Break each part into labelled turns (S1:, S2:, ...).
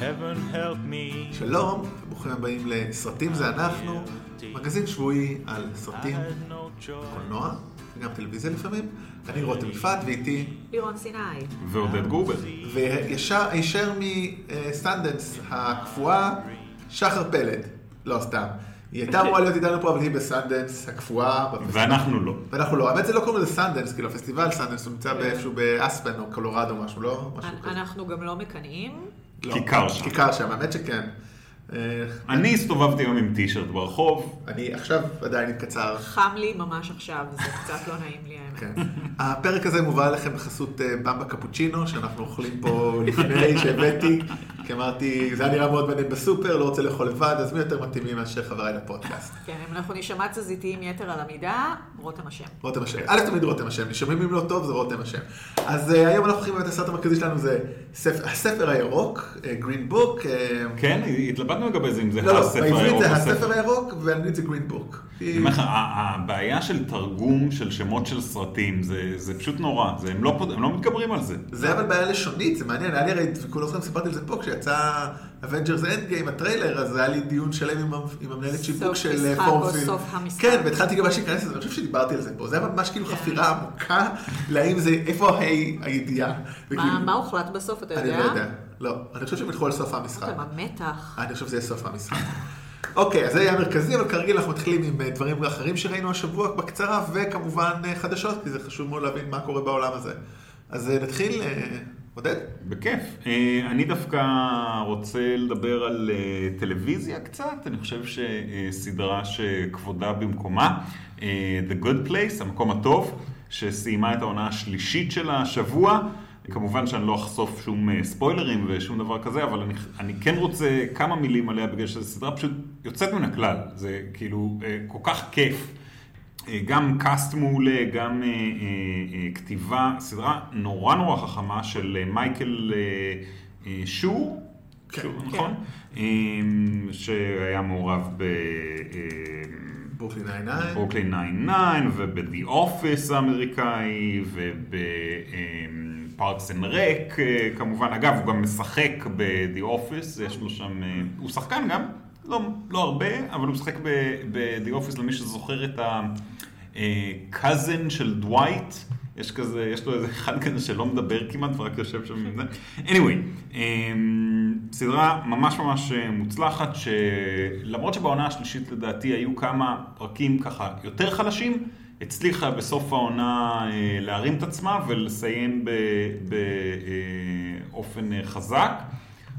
S1: heaven help me.
S2: שלום, וברוכים הבאים לסרטים זה אנחנו, מגזין שבועי על סרטים,
S1: had no joy.
S2: קולנוע, וגם טלוויזיה לפעמים. אני רותם יפעת ואיתי,
S3: לירון סיני.
S4: ועודד גרובר.
S2: וישר הישר מסטנדנס הקפואה, שחר פלד. לא, סתם. היא הייתה אמורה להיות איתנו פה, אבל היא בסטנדנס הקפואה. בפסטיבל.
S4: ואנחנו לא.
S2: ואנחנו לא, האמת זה לא קוראים לזה סנדנס, כאילו הפסטיבל סנדנס הוא נמצא באיפשהו באספן או קולורדו משהו, לא? משהו כזה.
S3: אנחנו גם לא מקנאים.
S2: לא.
S4: כיכר שם.
S2: כיכר שם, האמת שכן. אה,
S4: אני הסתובבתי היום עם טישרט ברחוב,
S2: אני עכשיו עדיין קצר.
S3: חם לי ממש עכשיו, זה קצת לא נעים לי האמת.
S2: כן. הפרק הזה מובא לכם בחסות אה, במבה קפוצ'ינו, שאנחנו אוכלים פה לפני שהבאתי, כי אמרתי, זה היה נראה מאוד מעניין בסופר, לא רוצה לאכול לבד, אז מי יותר מתאימים מאשר חבריי לפודקאסט.
S3: כן, אם אנחנו נשמע תזזיתיים יתר על המידה, רותם אשם.
S2: רותם
S4: כן.
S2: השם. א' תמיד רותם השם, נשמעים אם לא טוב זה רותם השם. אז אה, היום אנחנו הולכים באמת הסרט המרכזי שלנו זה ספר- הספר הירוק, אה, גרין בוק.
S4: כן, התלבטנו לגבי זה, אם זה
S2: אה, לא, לא,
S4: כן, הספר
S2: בעברית
S4: הירוק.
S2: זה
S4: או
S2: הספר
S4: ספר-
S2: הירוק, ובאנגלית זה גרין בוק.
S4: אני אומר לך, ה- ה- הבעיה של תרגום של שמות של סרטים, זה- זה פשוט נורא, זה- הם לא פות- הם לא מתגברים על זה.
S2: זה אבל בעיה לשונית, זה מעניין, היה לי הרי, כולו זוכרים, סיפרתי על זה פה, כשיצא Avengers Endgame, הטריילר, אז היה לי דיון שלם עם, המ- עם המנהלת שיווק
S3: סוף
S2: של
S3: משחק
S2: אה, פורפילד.
S3: או סוף המשחק.
S2: כן, והתחלתי גם ממש להיכנס לזה, אני חושב שדיברתי על זה פה, זה היה ממש כאילו
S3: כן.
S2: חפירה עמוקה, להאם זה, איפה ה"הי" הידיעה. וכאילו-
S3: מה מה הוחלט בסוף, אתה יודע? אוקיי,
S2: אני לא יודע, לא, אני חושב שהם ילכו על סוף המשחק.
S3: רותם, המתח.
S2: אני חושב שזה יהיה סוף המשחק. אוקיי, אז זה יהיה המרכזי, אבל כרגיל אנחנו מתחילים עם אה, דברים אחרים שראינו השבוע בקצרה, וכמובן אה, חדשות, כי זה חשוב מאוד להבין מה קורה בעולם הזה. אז אה, נתחיל, אה, עודד?
S4: בכיף. אה, אני דווקא רוצה לדבר על אה, טלוויזיה קצת, אני חושב שסדרה שכבודה במקומה, אה, The Good Place, המקום הטוב, שסיימה את העונה השלישית שלה השבוע. כמובן שאני לא אחשוף שום אה, ספוילרים ושום דבר כזה, אבל אני, אני כן רוצה כמה מילים עליה בגלל שזו סדרה פשוט יוצאת מן הכלל. זה כאילו אה, כל כך כיף. אה, גם קאסט מעולה, גם אה, אה, אה, כתיבה, סדרה נורא נורא חכמה של אה, מייקל אה, אה, שור,
S2: כן.
S4: שור,
S2: כן.
S4: נכון? אה, שהיה מעורב ב... אה,
S2: ברוקלין 99.
S4: ברוקלין 99 וב-The Office האמריקאי אמ, וב-Parks and Rec אה, כמובן. אגב, הוא גם משחק ב-The Office, יש לו שם... אה, הוא שחקן גם, לא, לא הרבה, אבל הוא משחק ב- ב-The Office למי שזוכר את הקאזן של דווייט. יש כזה, יש לו איזה אחד כזה שלא מדבר כמעט ורק יושב שם עם זה. anyway, אמ, סדרה ממש ממש אה, מוצלחת, שלמרות שבעונה השלישית לדעתי היו כמה פרקים ככה יותר חלשים, הצליחה בסוף העונה אה, להרים את עצמה ולסיים באופן אה, חזק.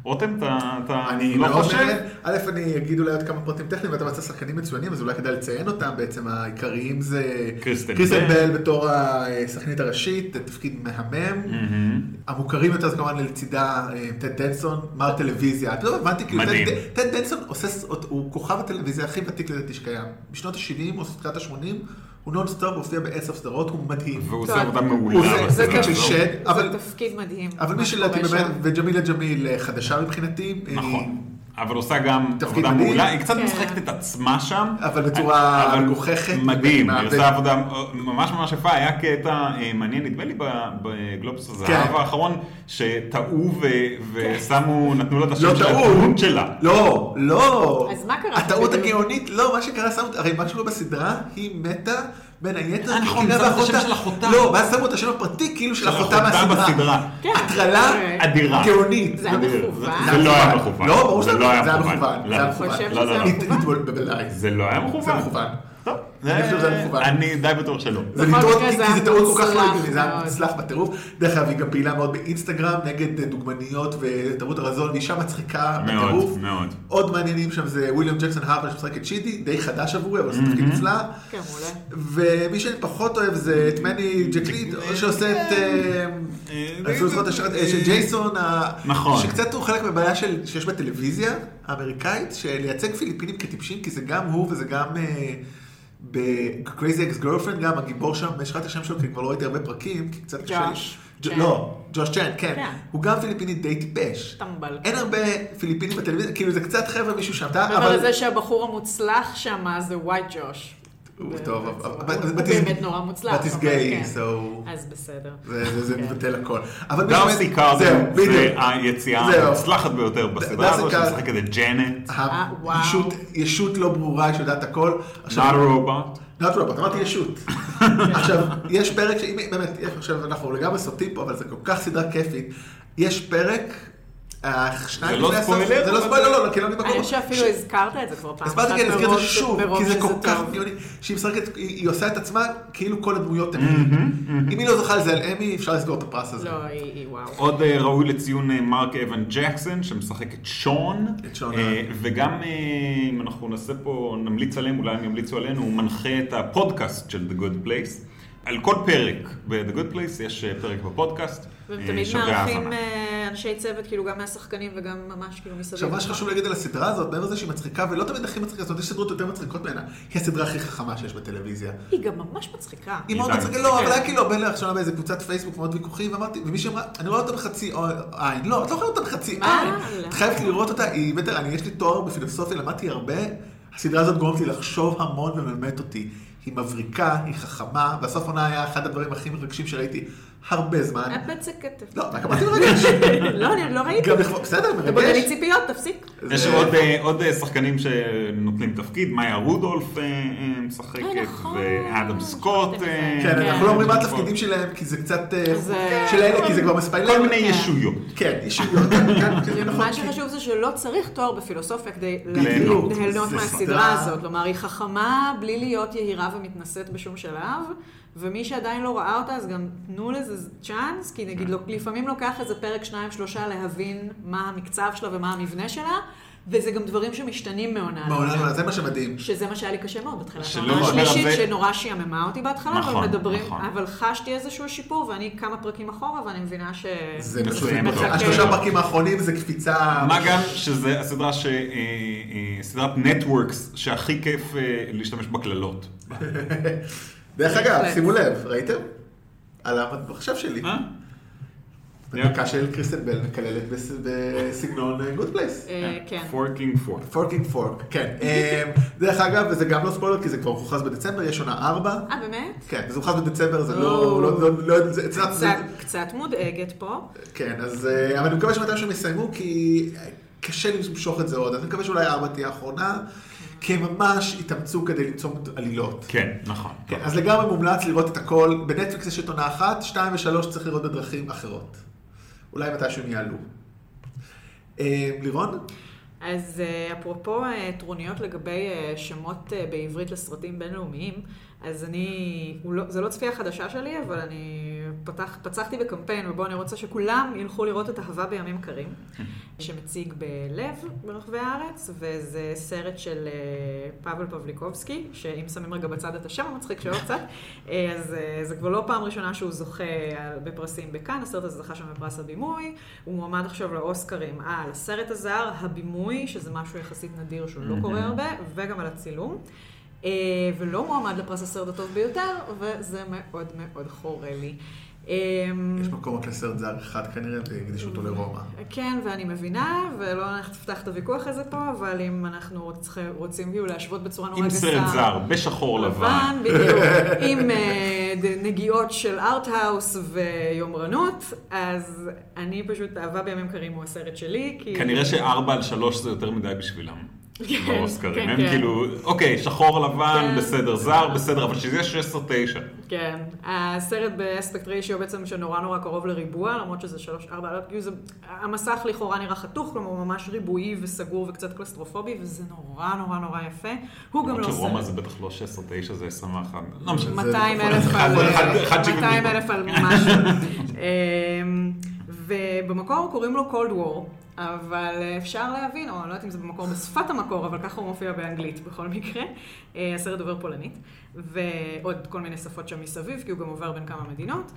S4: רותם, אתה אתה
S2: אני
S4: לא
S2: מאוד
S4: חושב?
S2: נהנה. א', אני אגיד אולי עוד כמה פרטים טכניים, ואתה מצא שחקנים מצוינים, אז אולי כדאי לציין אותם. בעצם העיקריים זה...
S4: קריסטן
S2: בל בתור השחקנית הראשית, זה תפקיד מהמם.
S4: מהמם.
S2: המוכרים יותר זה כמובן לצידה אה, טד דנסון, מר טלוויזיה. אתה לא הבנתי, כאילו,
S4: מדהים.
S2: טד- טד דנסון עושה, ס- הוא כוכב הטלוויזיה הכי ותיק לדעתי שקיים. בשנות ה-70 או תחילת ה-80, הוא נונסטופ, הופיע בעשר סדרות, הוא מדהים.
S4: והוא
S3: טוב.
S4: עושה עבודה
S2: הוא
S4: מעולה.
S2: עושה- זה
S4: בסדרה
S2: תפקיד של
S4: הזאת.
S2: שד, אבל-
S3: זה תפקיד מדהים.
S2: אבל מי
S3: מה
S2: שלדעתי
S3: שקורה
S2: באמת,
S3: שם.
S2: וג'מילה ג'מיל אה, חדשה מבחינתי. אה,
S4: נכון. אבל עושה גם
S2: תפקיד
S4: עבודה
S2: מדהים.
S4: מעולה, היא קצת
S3: כן.
S4: משחקת את עצמה שם.
S2: אבל בצורה
S4: אבל
S2: מגוחכת.
S4: מדהים, היא
S2: מדהימה,
S4: עושה
S2: ו-
S4: עבודה ממש ממש יפה, היה קטע אה, מעניין, נדמה לי, ב- בגלובס
S2: כן.
S4: הזהב האחרון, שטעו ו-
S3: כן.
S4: שמו, נתנו לה את
S2: לא
S4: השם של
S2: טעו.
S4: הדמות שלה.
S2: לא, לא.
S3: אז מה קרה?
S2: הטעות
S3: בדיוק?
S2: הגאונית, לא, מה שקרה, שמו, הרי מה שקורה בסדרה, היא מתה בין היתר,
S4: אה,
S2: כי
S4: נכון,
S2: קינה
S4: שמו את השם
S2: ואחותה-
S4: של אחותה.
S2: לא, ואז שמו את השם הפרטי, כאילו של
S4: של
S2: אחותה
S4: אחותה
S2: מהסדרה.
S4: בסדרה.
S3: כן.
S2: הטרלה
S3: אוקיי.
S4: אדירה.
S2: גאונית.
S3: זה היה
S4: זה-
S3: מכוון?
S4: זה לא היה מכוון.
S2: לא, ברור שזה
S4: זה לא היה
S2: היה
S4: מכוון.
S2: מכוון. זה
S4: לא.
S2: היה מכוון.
S3: חושב
S4: לא, לא,
S3: שזה היה
S4: לא.
S2: הת- התבול- בוודאי.
S4: זה לא היה מכוון.
S2: זה מכוון.
S4: טוב,
S2: אני חושב שזה היה מכוון.
S4: אני די בטוח שלא.
S2: זה
S3: בכל
S2: לטעות,
S3: מקרה
S2: כי
S3: זה
S2: כי
S3: היה
S2: זה טעות כל כך לא
S3: מוצלח
S2: הגיונית, זה היה
S3: מאוד.
S2: מוצלח בטירוף. דרך אגב, היא גם פעילה מאוד באינסטגרם נגד אה, דוגמניות ותרבות הרזון, והיא שם מצחיקה בטירוף.
S4: מאוד, מאוד.
S2: עוד מעניינים שם זה וויליאם ג'קסון הרפר שמשחק את שידי, די חדש עבורי, אבל זה תפקיד נפלא.
S3: כן, מעולה.
S2: ומי שאני פחות אוהב זה את מני ג'קליט, שעושה את... אה,
S4: אה,
S2: עשו זכות השעות, אה, של ג'ייסון, ה-
S4: נכון.
S2: שקצת הוא חלק מהבעיה של- שיש בטלוויזיה האמריקאית, שלייצג פיליפינים כטיפשים, כי זה גם הוא וזה גם אה, ב-Crazy Ex Girlfriend, גם הגיבור שם, יש לך את השם שלו, כי כבר לא ראיתי הרבה פרקים, כי קצת קשה לי.
S3: ג'וש.
S2: ג'-
S3: צ'אן.
S2: לא, ג'וש צ'אן, כן.
S3: כן.
S2: הוא גם פיליפיני די טיפש.
S3: טמבל.
S2: אין הרבה פיליפינים בטלוויזיה, כאילו זה קצת חבר'ה מישהו שם,
S3: מעבר לזה שהבחור המוצלח שם זה ווייט ג'וש.
S2: הוא
S3: באמת
S2: טוב,
S3: צורה.
S2: אבל-
S3: הוא
S2: but
S3: באמת
S2: he's-
S3: נורא מוצלח.
S2: but he's
S3: אבל כן.
S2: gay, so...
S3: אז בסדר.
S2: זה- זה- זה
S3: כן.
S2: מבטל הכל. אבל
S4: דארסי
S2: באמת-
S4: קארדן
S2: זהו,
S4: זה
S2: בדיוק.
S4: היציאה
S2: זהו.
S4: המוצלחת ביותר בסדרה
S2: דארסי
S4: הזו,
S2: קארדן.
S4: שמשחקת את ג'נט,
S3: אה, וואו.
S2: הישות- ישות לא ברורה, היא שיודעת הכל.
S4: not
S2: עכשיו- לא,
S4: a robot.
S2: not robot, אמרתי ישות. עכשיו, יש פרק, ש- באמת, יש- עכשיו אנחנו לגמרי סוטים פה, אבל זה כל כך סדרה כיפית. יש פרק, השניים
S4: זה לא
S2: לפני הסוף-
S4: ספוילר,
S2: זה לא
S4: אבל-
S2: ספוילר, לא, לא, כי לא נדבר
S3: אני
S2: כל-
S3: חושב שאפילו
S2: ש-
S3: הזכרת את זה כבר פעם.
S2: הסברתי
S3: אחת
S2: כי אני אזכיר את
S3: מרוב
S2: זה
S3: ש-
S2: שוב,
S3: מרוב
S2: כי זה
S3: שזה
S2: כל כך
S3: טוב.
S2: חיוני, שהיא משחקת, היא היא עושה את עצמה כאילו כל הדמויות האלה. אם היא לא זוכה לזה על אמי, אפשר לסגור את הפרס הזה.
S3: לא, היא היא- וואו.
S4: עוד אה, ראוי לציון אה, מרק אבן ג'קסון שמשחק את שון,
S2: את שון,
S4: אה,
S2: אה.
S4: וגם אה, אם אנחנו נעשה פה, נמליץ עליהם, אולי הם ימליצו עלינו, הוא מנחה את הפודקאסט של The Good Place. על כל פרק ב-The Good Place יש אה, פרק בפודקאסט,
S3: והם
S4: אה,
S3: תמיד
S4: שווה
S3: מארחים
S4: האזנה.
S3: אה, אנשי צוות, כאילו גם מהשחקנים וגם ממש כאילו מסביב.
S2: עכשיו, מה שחשוב להגיד על הסדרה הזאת, מעבר לזה שהיא מצחיקה, ולא תמיד הכי מצחיקה, זאת אומרת, יש סדרות יותר מצחיקות ממנה, היא הסדרה הכי חכמה שיש בטלוויזיה.
S3: היא גם ממש מצחיקה.
S2: היא מאוד
S4: די.
S2: מצחיקה, לא,
S3: כן.
S2: אבל היה כאילו הבן לראשונה באיזה קבוצת פייסבוק מאוד ויכוחי, ואמרתי, ומישהי אמרה, אני רואה אותה בחצי א- עין. לא, את לא יכולה לראות אותה בחצי
S3: מה?
S2: עין.
S3: לא.
S2: את חייבת לראות אותה, היא בטח, אני, יש לי תואר בפילוסופיה, למדתי הרבה, הסדרה הזאת גורמת לי לחשוב המון ומלמדת אותי. היא מבריקה, היא חכמה, והסוף עונה היה אחד הדברים הכי מרגשים שראיתי הרבה זמן.
S3: את מצקת.
S2: לא, רק אמרתי מרגש.
S3: אה. לא, אני לא ראיתי.
S2: גם לכבוד, בסדר,
S3: אתה בונה לי
S2: מרגש.
S3: ציפיות, תפסיק.
S4: יש
S2: זה-
S4: עוד, אה, עוד אה, שחקנים שנותנים תפקיד, מאיה רודולף אה, אה, משחקת,
S3: אה, נכון.
S4: ואדם סקוט.
S3: שכחתי
S4: אה,
S3: מזה.
S2: כן, אנחנו לא אומרים מה
S4: אה,
S2: התפקידים שלהם, כי זה קצת... אה,
S3: זה-
S2: של אלה, כי זה כבר מספיילר.
S4: כל מיני ישויות.
S2: כן, אישיות. כן, כן, כן, נכון,
S3: כאילו, מה
S2: כי-
S3: שחשוב זה שלא צריך תואר בפילוסופיה כדי
S4: ליהנות.
S3: ליהנות
S2: זה
S3: מהסדרה
S2: סדרה-
S3: הזאת. כלומר, היא חכמה בלי להיות יהירה ומתנשאת בשום שלב, ומי שעדיין לא ראה אותה, אז גם תנו לזה צ'אנס, כי
S2: כן.
S3: נגיד, לא- לפעמים לוקח איזה פרק, שניים, שלושה, להבין מה המקצב שלה ומה המבנה שלה, וזה גם דברים שמשתנים מעונה
S2: מעולם לא, זה מה שמדהים.
S3: שזה מה שהיה לי קשה מאוד בהתחלה.
S4: שלא
S3: העונה
S4: לדבר על
S3: השלישית
S4: זה-
S3: שנורא שעממה אותי בהתחלה,
S4: נכון,
S3: אבל מדברים,
S4: נכון.
S3: אבל חשתי איזשהו שיפור, ואני כמה פרקים אחורה, ואני מבינה ש... אה,
S2: זה פשוט...
S4: מסיים
S3: אותו.
S2: השלושה פרקים האחרונים זה קפיצה...
S4: מה גם שזה הסדרה ש... אה, אה, סדרת נטוורקס שהכי כיף אה, להשתמש בקללות.
S2: דרך אגב,
S3: בהחלט.
S2: שימו לב, ראיתם? על המחשב שלי.
S4: אה?
S2: הדקה של קריסטל בל מקללת בס- בסגנון גוד פלייס.
S3: אה, כן.
S4: פורקינג פורק.
S2: פורקינג פורק, כן. אמ, דרך אגב, וזה גם לא ספוילר, כי זה כבר הוכרז בדצמבר, יש עונה 4.
S3: אה, באמת?
S2: כן, זה הוכרז בדצמבר, זה לא... לא- לא- לא- זה- זה-
S3: קצת, קצת מודאגת פה.
S2: כן, אז... אה, אבל אני מקווה שמתי שהם יסיימו, כי אה, קשה למשוך את זה עוד. אז אני מקווה שאולי ארבע תהיה האחרונה, כי הם ממש התאמצו כדי למצוא עלילות.
S4: כן, נכון.
S2: כן, אז לגמרי מומלץ לראות את הכל. בנטפליקס יש את עונה אחת, שתיים ושלוש צריך לראות בדרכים אחרות. אולי מתישהו הם יעלו. אה, לירון?
S3: אז אה, אפרופו אה, טרוניות לגבי אה, שמות אה, בעברית לסרטים בינלאומיים, אז אני, הוא לא, זה לא צפייה חדשה שלי, אבל אני פתח, פצחתי בקמפיין, ובו אני רוצה שכולם ילכו לראות את אהבה בימים קרים, שמציג בלב ברחבי הארץ, וזה סרט של אה, פאבל פבליקובסקי, שאם שמים רגע בצד את השם המצחיק שלו קצת, אה, אז אה, זה כבר לא פעם ראשונה שהוא זוכה על- בפרסים בכאן, הסרט הזה זכה שם בפרס הבימוי, הוא מועמד עכשיו לאוסקרים על הסרט הזר, הבימוי, שזה משהו יחסית נדיר שהוא לא קורה הרבה, וגם על הצילום. אה, ולא מועמד לפרס הסרט הטוב ביותר, וזה מאוד מאוד חורה לי. אה,
S2: יש מקום רק לסרט זר אחד כנראה, והקדישו אותו לרומא.
S3: כן, ואני מבינה, ולא נפתח את הוויכוח הזה פה, אבל אם אנחנו רוצים- רוצים כאילו להשוות בצורה נורא
S4: עם
S3: גסה...
S4: סרט זר, בשחור לבן.
S3: בדיוק. עם אה, ד- נגיעות של ארטהאוס ויומרנות, אז אני פשוט, אהבה בימים קרים הוא הסרט שלי, כי...
S4: כנראה שארבע על שלוש זה יותר מדי בשבילם.
S3: כן,
S4: באוסקרים.
S3: כן,
S4: הם
S3: כן.
S4: כאילו, אוקיי, שחור לבן,
S3: כן.
S4: בסדר, זר, בסדר, אבל שזה 16-9.
S3: כן, הסרט באספקט ריישיו בעצם שנורא נורא קרוב לריבוע, למרות שזה שלוש, ארבע, לא, כאילו זה, המסך לכאורה נראה חתוך, כלומר הוא ממש ריבועי וסגור וקצת קלסטרופובי, וזה נורא נורא נורא יפה. הוא גם לא
S4: רומא זה
S3: סרט.
S4: בטח לא 16-9, זה 21. לא משנה.
S3: 200
S2: זה-
S3: אלף על
S4: אחד- אחד- אחד שבעים
S3: 200
S4: ריבוע.
S3: אלף על משהו. אמ, ובמקור קוראים לו Cold War, אבל אפשר להבין, או אני לא יודעת אם זה במקור בשפת המקור, אבל ככה הוא מופיע באנגלית בכל מקרה. אה, הסרט דובר פולנית, ועוד כל מיני שפות שם מסביב, כי הוא גם עובר בין כמה מדינות.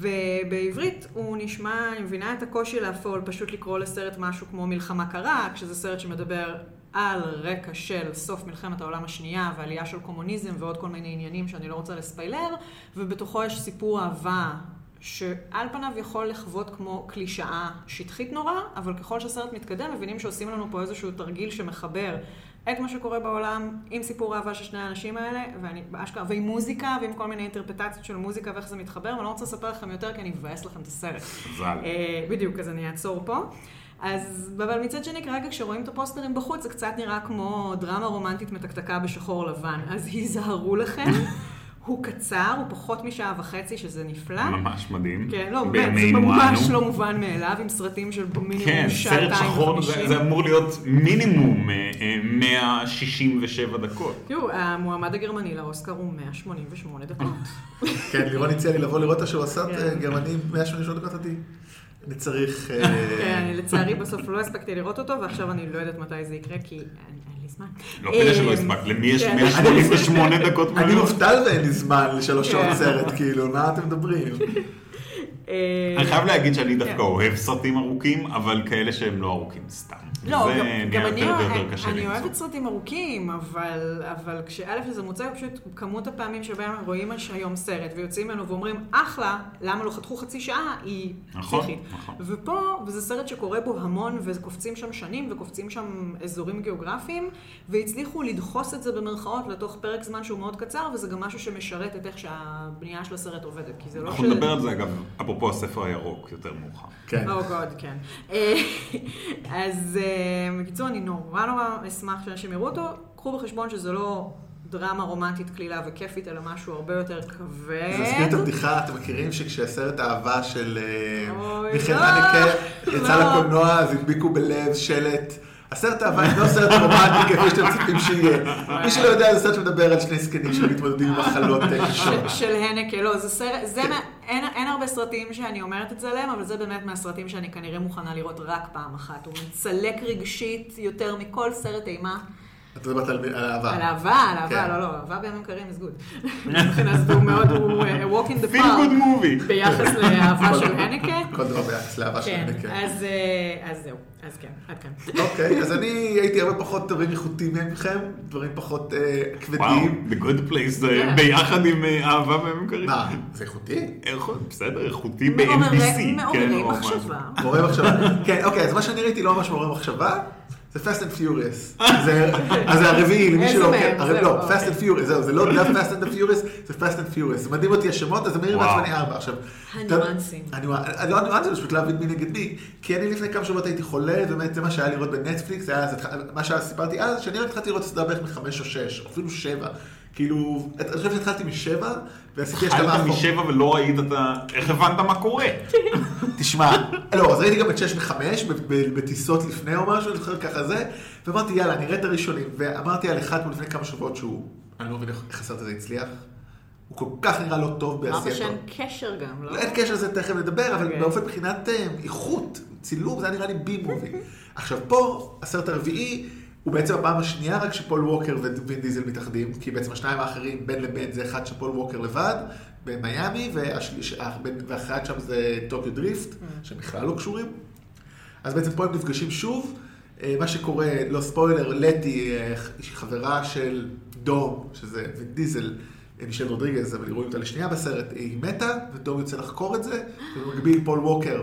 S3: ובעברית הוא נשמע, אני מבינה את הקושי להפעול, פשוט לקרוא לסרט משהו כמו מלחמה קרה, כשזה סרט שמדבר על רקע של סוף מלחמת העולם השנייה ועלייה של קומוניזם ועוד כל מיני עניינים שאני לא רוצה לספיילר, ובתוכו יש סיפור אהבה שעל פניו יכול לחוות כמו קלישאה שטחית נורא, אבל ככל שהסרט מתקדם מבינים שעושים לנו פה איזשהו תרגיל שמחבר את מה שקורה בעולם עם סיפור אהבה של שני האנשים האלה, ואני באשכרה, ועם מוזיקה, ועם כל מיני אינטרפטציות של מוזיקה ואיך זה מתחבר, ואני לא רוצה לספר לכם יותר כי אני אבאס לכם את הסרט.
S4: ז"ל.
S3: אה, בדיוק, אז אני אעצור פה. אז, אבל מצד שני, כרגע כשרואים את הפוסטרים בחוץ, זה קצת נראה כמו דרמה רומנטית מתקתקה בשחור לבן. אז היזהרו לכם, הוא קצר, הוא פחות משעה וחצי, שזה נפלא.
S4: ממש מדהים.
S3: אה? כן, לא, באמת, זה
S4: בימינו
S3: ממש
S4: אנו.
S3: לא מובן מאליו, עם סרטים של
S4: אה, כן,
S3: מינימום שעתיים
S4: סרט שחור
S3: וחמישים.
S4: זה זה אמור להיות מינימום אה, אה, 167 דקות.
S3: תראו, המועמד הגרמני לאוסקר הוא 188 דקות.
S4: אה.
S2: כן, לירון הציע לי לבוא לראות אותה שהוא עשה
S3: כן.
S2: אה, גרמני 188 דקות אותי. אני צריך... אה,
S3: כן, אני לצערי בסוף לא הספקתי לראות אותו, ועכשיו אני לא יודעת מתי זה יקרה, כי אין אין לי זמן.
S4: לא פלא שלא
S3: אה,
S4: הספקת, למי יש
S3: כן.
S4: 188 דקות
S2: אני
S4: מלאות?
S2: מובטל ואין לי זמן לשלוש שעות
S3: כן.
S2: סרט, כאילו, מה אתם מדברים?
S3: אה,
S4: אני חייב להגיד שאני דווקא
S3: כן.
S4: אוהב סרטים ארוכים, אבל כאלה שהם לא ארוכים סתם.
S3: לא,
S4: זה
S3: גם- גם
S4: נהיה
S3: אני
S4: יותר
S3: אוהב-
S4: ויותר קשה
S3: אני
S4: למצוא.
S3: אוהבת סרטים ארוכים, אבל אבל כשא' שזה מוצא, פשוט כמות הפעמים שבהם רואים הש- היום סרט ויוצאים ממנו ואומרים, אחלה, למה לא חתכו חצי שעה, היא
S4: נכון,
S3: פסיכית.
S4: נכון.
S3: ופה, וזה סרט שקורה בו המון, וקופצים שם שנים, וקופצים שם אזורים גיאוגרפיים, והצליחו לדחוס את זה במרכאות לתוך פרק זמן שהוא מאוד קצר, וזה גם משהו שמשרת את איך שהבנייה של הסרט עובדת, כי זה לא
S4: אנחנו נדבר על זה אגב, אפרופו הספר הירוק, יותר מאוחר.
S2: כן.
S3: או גוד, כן. אה, אז אה, בקיצור, אני נורא נורא אשמח שאנשים יראו אותו. קחו בחשבון שזה לא דרמה רומנטית קלילה וכיפית, אלא משהו הרבה יותר כבד.
S2: זה מזכיר את הבדיחה, אתם מכירים שכשהסרט אהבה של אה,
S3: אוי,
S2: מיכאל
S3: לא,
S2: הנקה יצא
S3: לא.
S2: לקולנוע, אז הדביקו בלב שלט. הסרט אהבה אינו סרט רומנטי כפי שאתם מצפים שיהיה. מי שלא יודע, זה סרט שמדבר על שני זקנים שמתמודדים עם מחלות אה, קשות.
S3: של- של הנקה, לא, זה סרט, זה מה, אין, אין הרבה סרטים שאני אומרת את זה עליהם, אבל זה באמת מהסרטים שאני כנראה מוכנה לראות רק פעם אחת. הוא מצלק רגשית יותר מכל סרט אימה.
S2: אתה מדברת על על אהבה.
S3: על אהבה, על אהבה,
S2: כן.
S3: לא, לא, אהבה בימים קרים is good. מבחינה זאת הוא מאוד, הוא אה, a walk in the
S4: פיל גוד
S3: park
S4: מובי.
S3: ביחס לאהבה של הנקה.
S2: כל דבר ביחס לאהבה של
S3: כן,
S2: הנקה.
S3: אז, אה, אז זהו, אז כן, עד כאן.
S2: אוקיי, אז אני הייתי הרבה פחות דברים איכותיים מכם, דברים פחות אה,
S4: וואו,
S2: כבדים.
S4: The Good Place זה
S3: כן.
S4: ביחד עם אה, אהבה והם קרים.
S2: מה, זה איכותי?
S4: איכות, בסדר, איכותי
S3: מעוררי-
S4: ב-NBC.
S2: כן,
S3: מעוררי מחשבה.
S2: מעורר מחשבה. כן, אוקיי, אז מה שאני ראיתי לא ממש מעורר מחשבה, זה Fast and Furious. זה- אז זה הרביעי, למי
S3: איזה
S2: שלא...
S3: מהם?
S2: כן, הר-
S3: זהו,
S2: לא,
S3: אוקיי.
S2: Fast and Furious, זהו, זה לא The Fast and the Furious, זה Fast and Furious. זה מדהים אותי השמות, אז זה מעיר
S4: וואו.
S2: מעצבני ארבע עכשיו.
S3: הניואנסים.
S2: אתה- הניואנ- לא הניואנסים, זה פשוט להבין מי נגד מי. כי אני לפני כמה שבועות הייתי חולה, באמת זה מה שהיה לראות בנטפליקס, זה היה אז התח- מה שסיפרתי אז, שאני רק התחלתי לראות סדרה בערך מחמש או שש, או אפילו שבע. כאילו, אני חושב שהתחלתי משבע, ועשיתי השלמה
S4: היית
S2: אחורה.
S4: משבע ולא ראית את ה... איך הבנת מה קורה?
S2: תשמע, לא, אז ראיתי גם את 6 ו-5 בטיסות לפני או משהו, אני זוכר ככה זה, ואמרתי יאללה, נראה את הראשונים, ואמרתי על אחד מלפני כמה שבועות שהוא, אני לא מבין איך איך הסרט הזה הצליח, הוא כל כך נראה לא טוב
S3: אמרת
S2: בעשייתו.
S3: שאין קשר גם, לא?
S2: אין קשר לזה תכף נדבר, אבל
S3: אוקיי.
S2: באופן מבחינת אה, איכות, צילום, זה היה נראה לי בי מובי. עכשיו פה, הסרט הרביעי, הוא בעצם הפעם השנייה רק שפול ווקר ווין דיזל מתאחדים, כי בעצם השניים האחרים, בין לבין, זה אחד שפול ווקר לבד, במיאמי, והשליש- אה, בין- ואחד שם זה טוקיו דריפט,
S3: Mm.
S2: שבכלל לא קשורים. אז בעצם פה הם נפגשים שוב. אה, מה שקורה, לא ספוילר, לטי, אה, חברה של דום, שזה וין דיזל, אה, מישל רודריגז, אבל רואים אותה לשנייה בסרט, היא מתה, ודום יוצא לחקור את זה, ובמקביל פול ווקר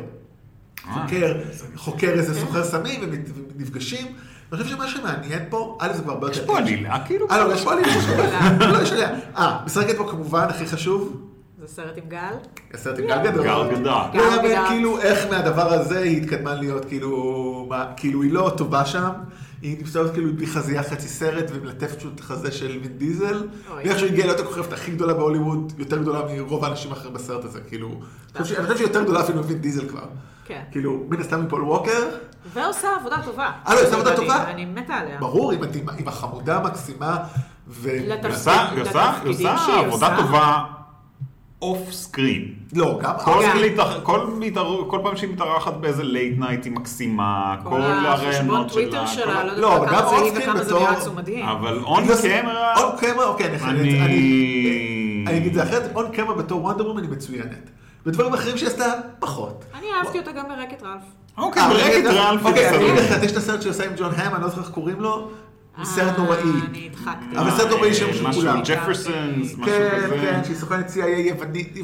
S4: אה,
S2: חוקר, חוקר איזה סוחר סמים, והם מת- נפגשים. אני חושב שמה שמעניין פה, א' זה כבר הרבה יותר...
S4: יש פה עלילה, כאילו.
S2: אה, לא, יש פה עלילה, יש פה עלילה. לא, יש עלילה. אה, משחקת פה כמובן, הכי חשוב,
S3: זה סרט עם גל?
S2: הסרט עם גל גדול.
S4: גל גדול.
S2: לא
S3: גל גדול.
S2: יאמן כאילו איך מהדבר הזה היא התקדמה להיות כאילו, מה- כאילו היא לא טובה שם. היא נמצאת כאילו בלי חזייה חצי סרט ומלטפת פשוט את החזה של וין דיזל.
S3: אוי.
S2: ואיכשהו הגיעה להיות הכוכבת הכי גדולה בהוליווד, יותר גדולה מרוב האנשים האחרים בסרט הזה, כאילו. אני חושב שהיא- אני חושב שהיא יותר גדולה אפילו מווין דיזל כבר.
S3: כן.
S2: כאילו, מן הסתם מפול ווקר,
S3: ועושה עבודה טובה.
S2: אה, לא, היא עושה עבודה
S3: אני-
S2: טובה?
S3: אני מתה עליה.
S2: ברור, היא מדהימה, עם החמודה המקסימה. ו...
S4: היא
S3: לתפקיד.
S4: עושה- היא עושה- היא
S3: לתפקידים
S4: עושה
S3: שהיא
S4: עבודה
S3: עושה.
S4: טובה אוף סקרין.
S2: לא, גם...
S4: כל,
S3: גם.
S4: להתאר... כל, מתאר... כל פעם שהיא מתארחת באיזה לייט נייט היא מקסימה, כל,
S3: כל החשבון
S4: הרעיונות
S3: טוויטר
S4: כל
S3: שלה,
S4: ה-
S3: לא
S2: לא,
S3: יודעת
S2: אבל גם
S3: כמה זה היא
S2: אוסקין
S3: וכמה זה
S2: בתור-
S3: נראה עצום מדהים.
S4: אבל און
S2: לא
S4: קמרה,
S2: און קמרה, אוקיי, אני חייב...
S4: אני-
S2: אני אני אגיד את זה אחרת, און קמרה בתור וונדר וומן היא מצוינת. בדברים אחרים שהיא עשתה, פחות.
S3: אני אהבתי אותה גם ברקת רלף.
S4: אוקיי,
S2: אה,
S4: ברקת
S2: רגע,
S4: רלפי,
S2: אוקיי, אני אגיד
S4: בסדר.
S2: לך, יש את הסרט שהיא עושה עם ג'ון האם, אני לא זוכר איך קוראים לו, הוא סרט
S3: אה,
S2: נוראי.
S3: אני הדחקתי. אה,
S2: אבל סרט נוראי שם של
S4: משהו
S2: כולם.
S4: ג'פרסונס, משהו
S2: כן,
S4: כזה.
S2: כן, שהיא סוכנת CIA יוונית.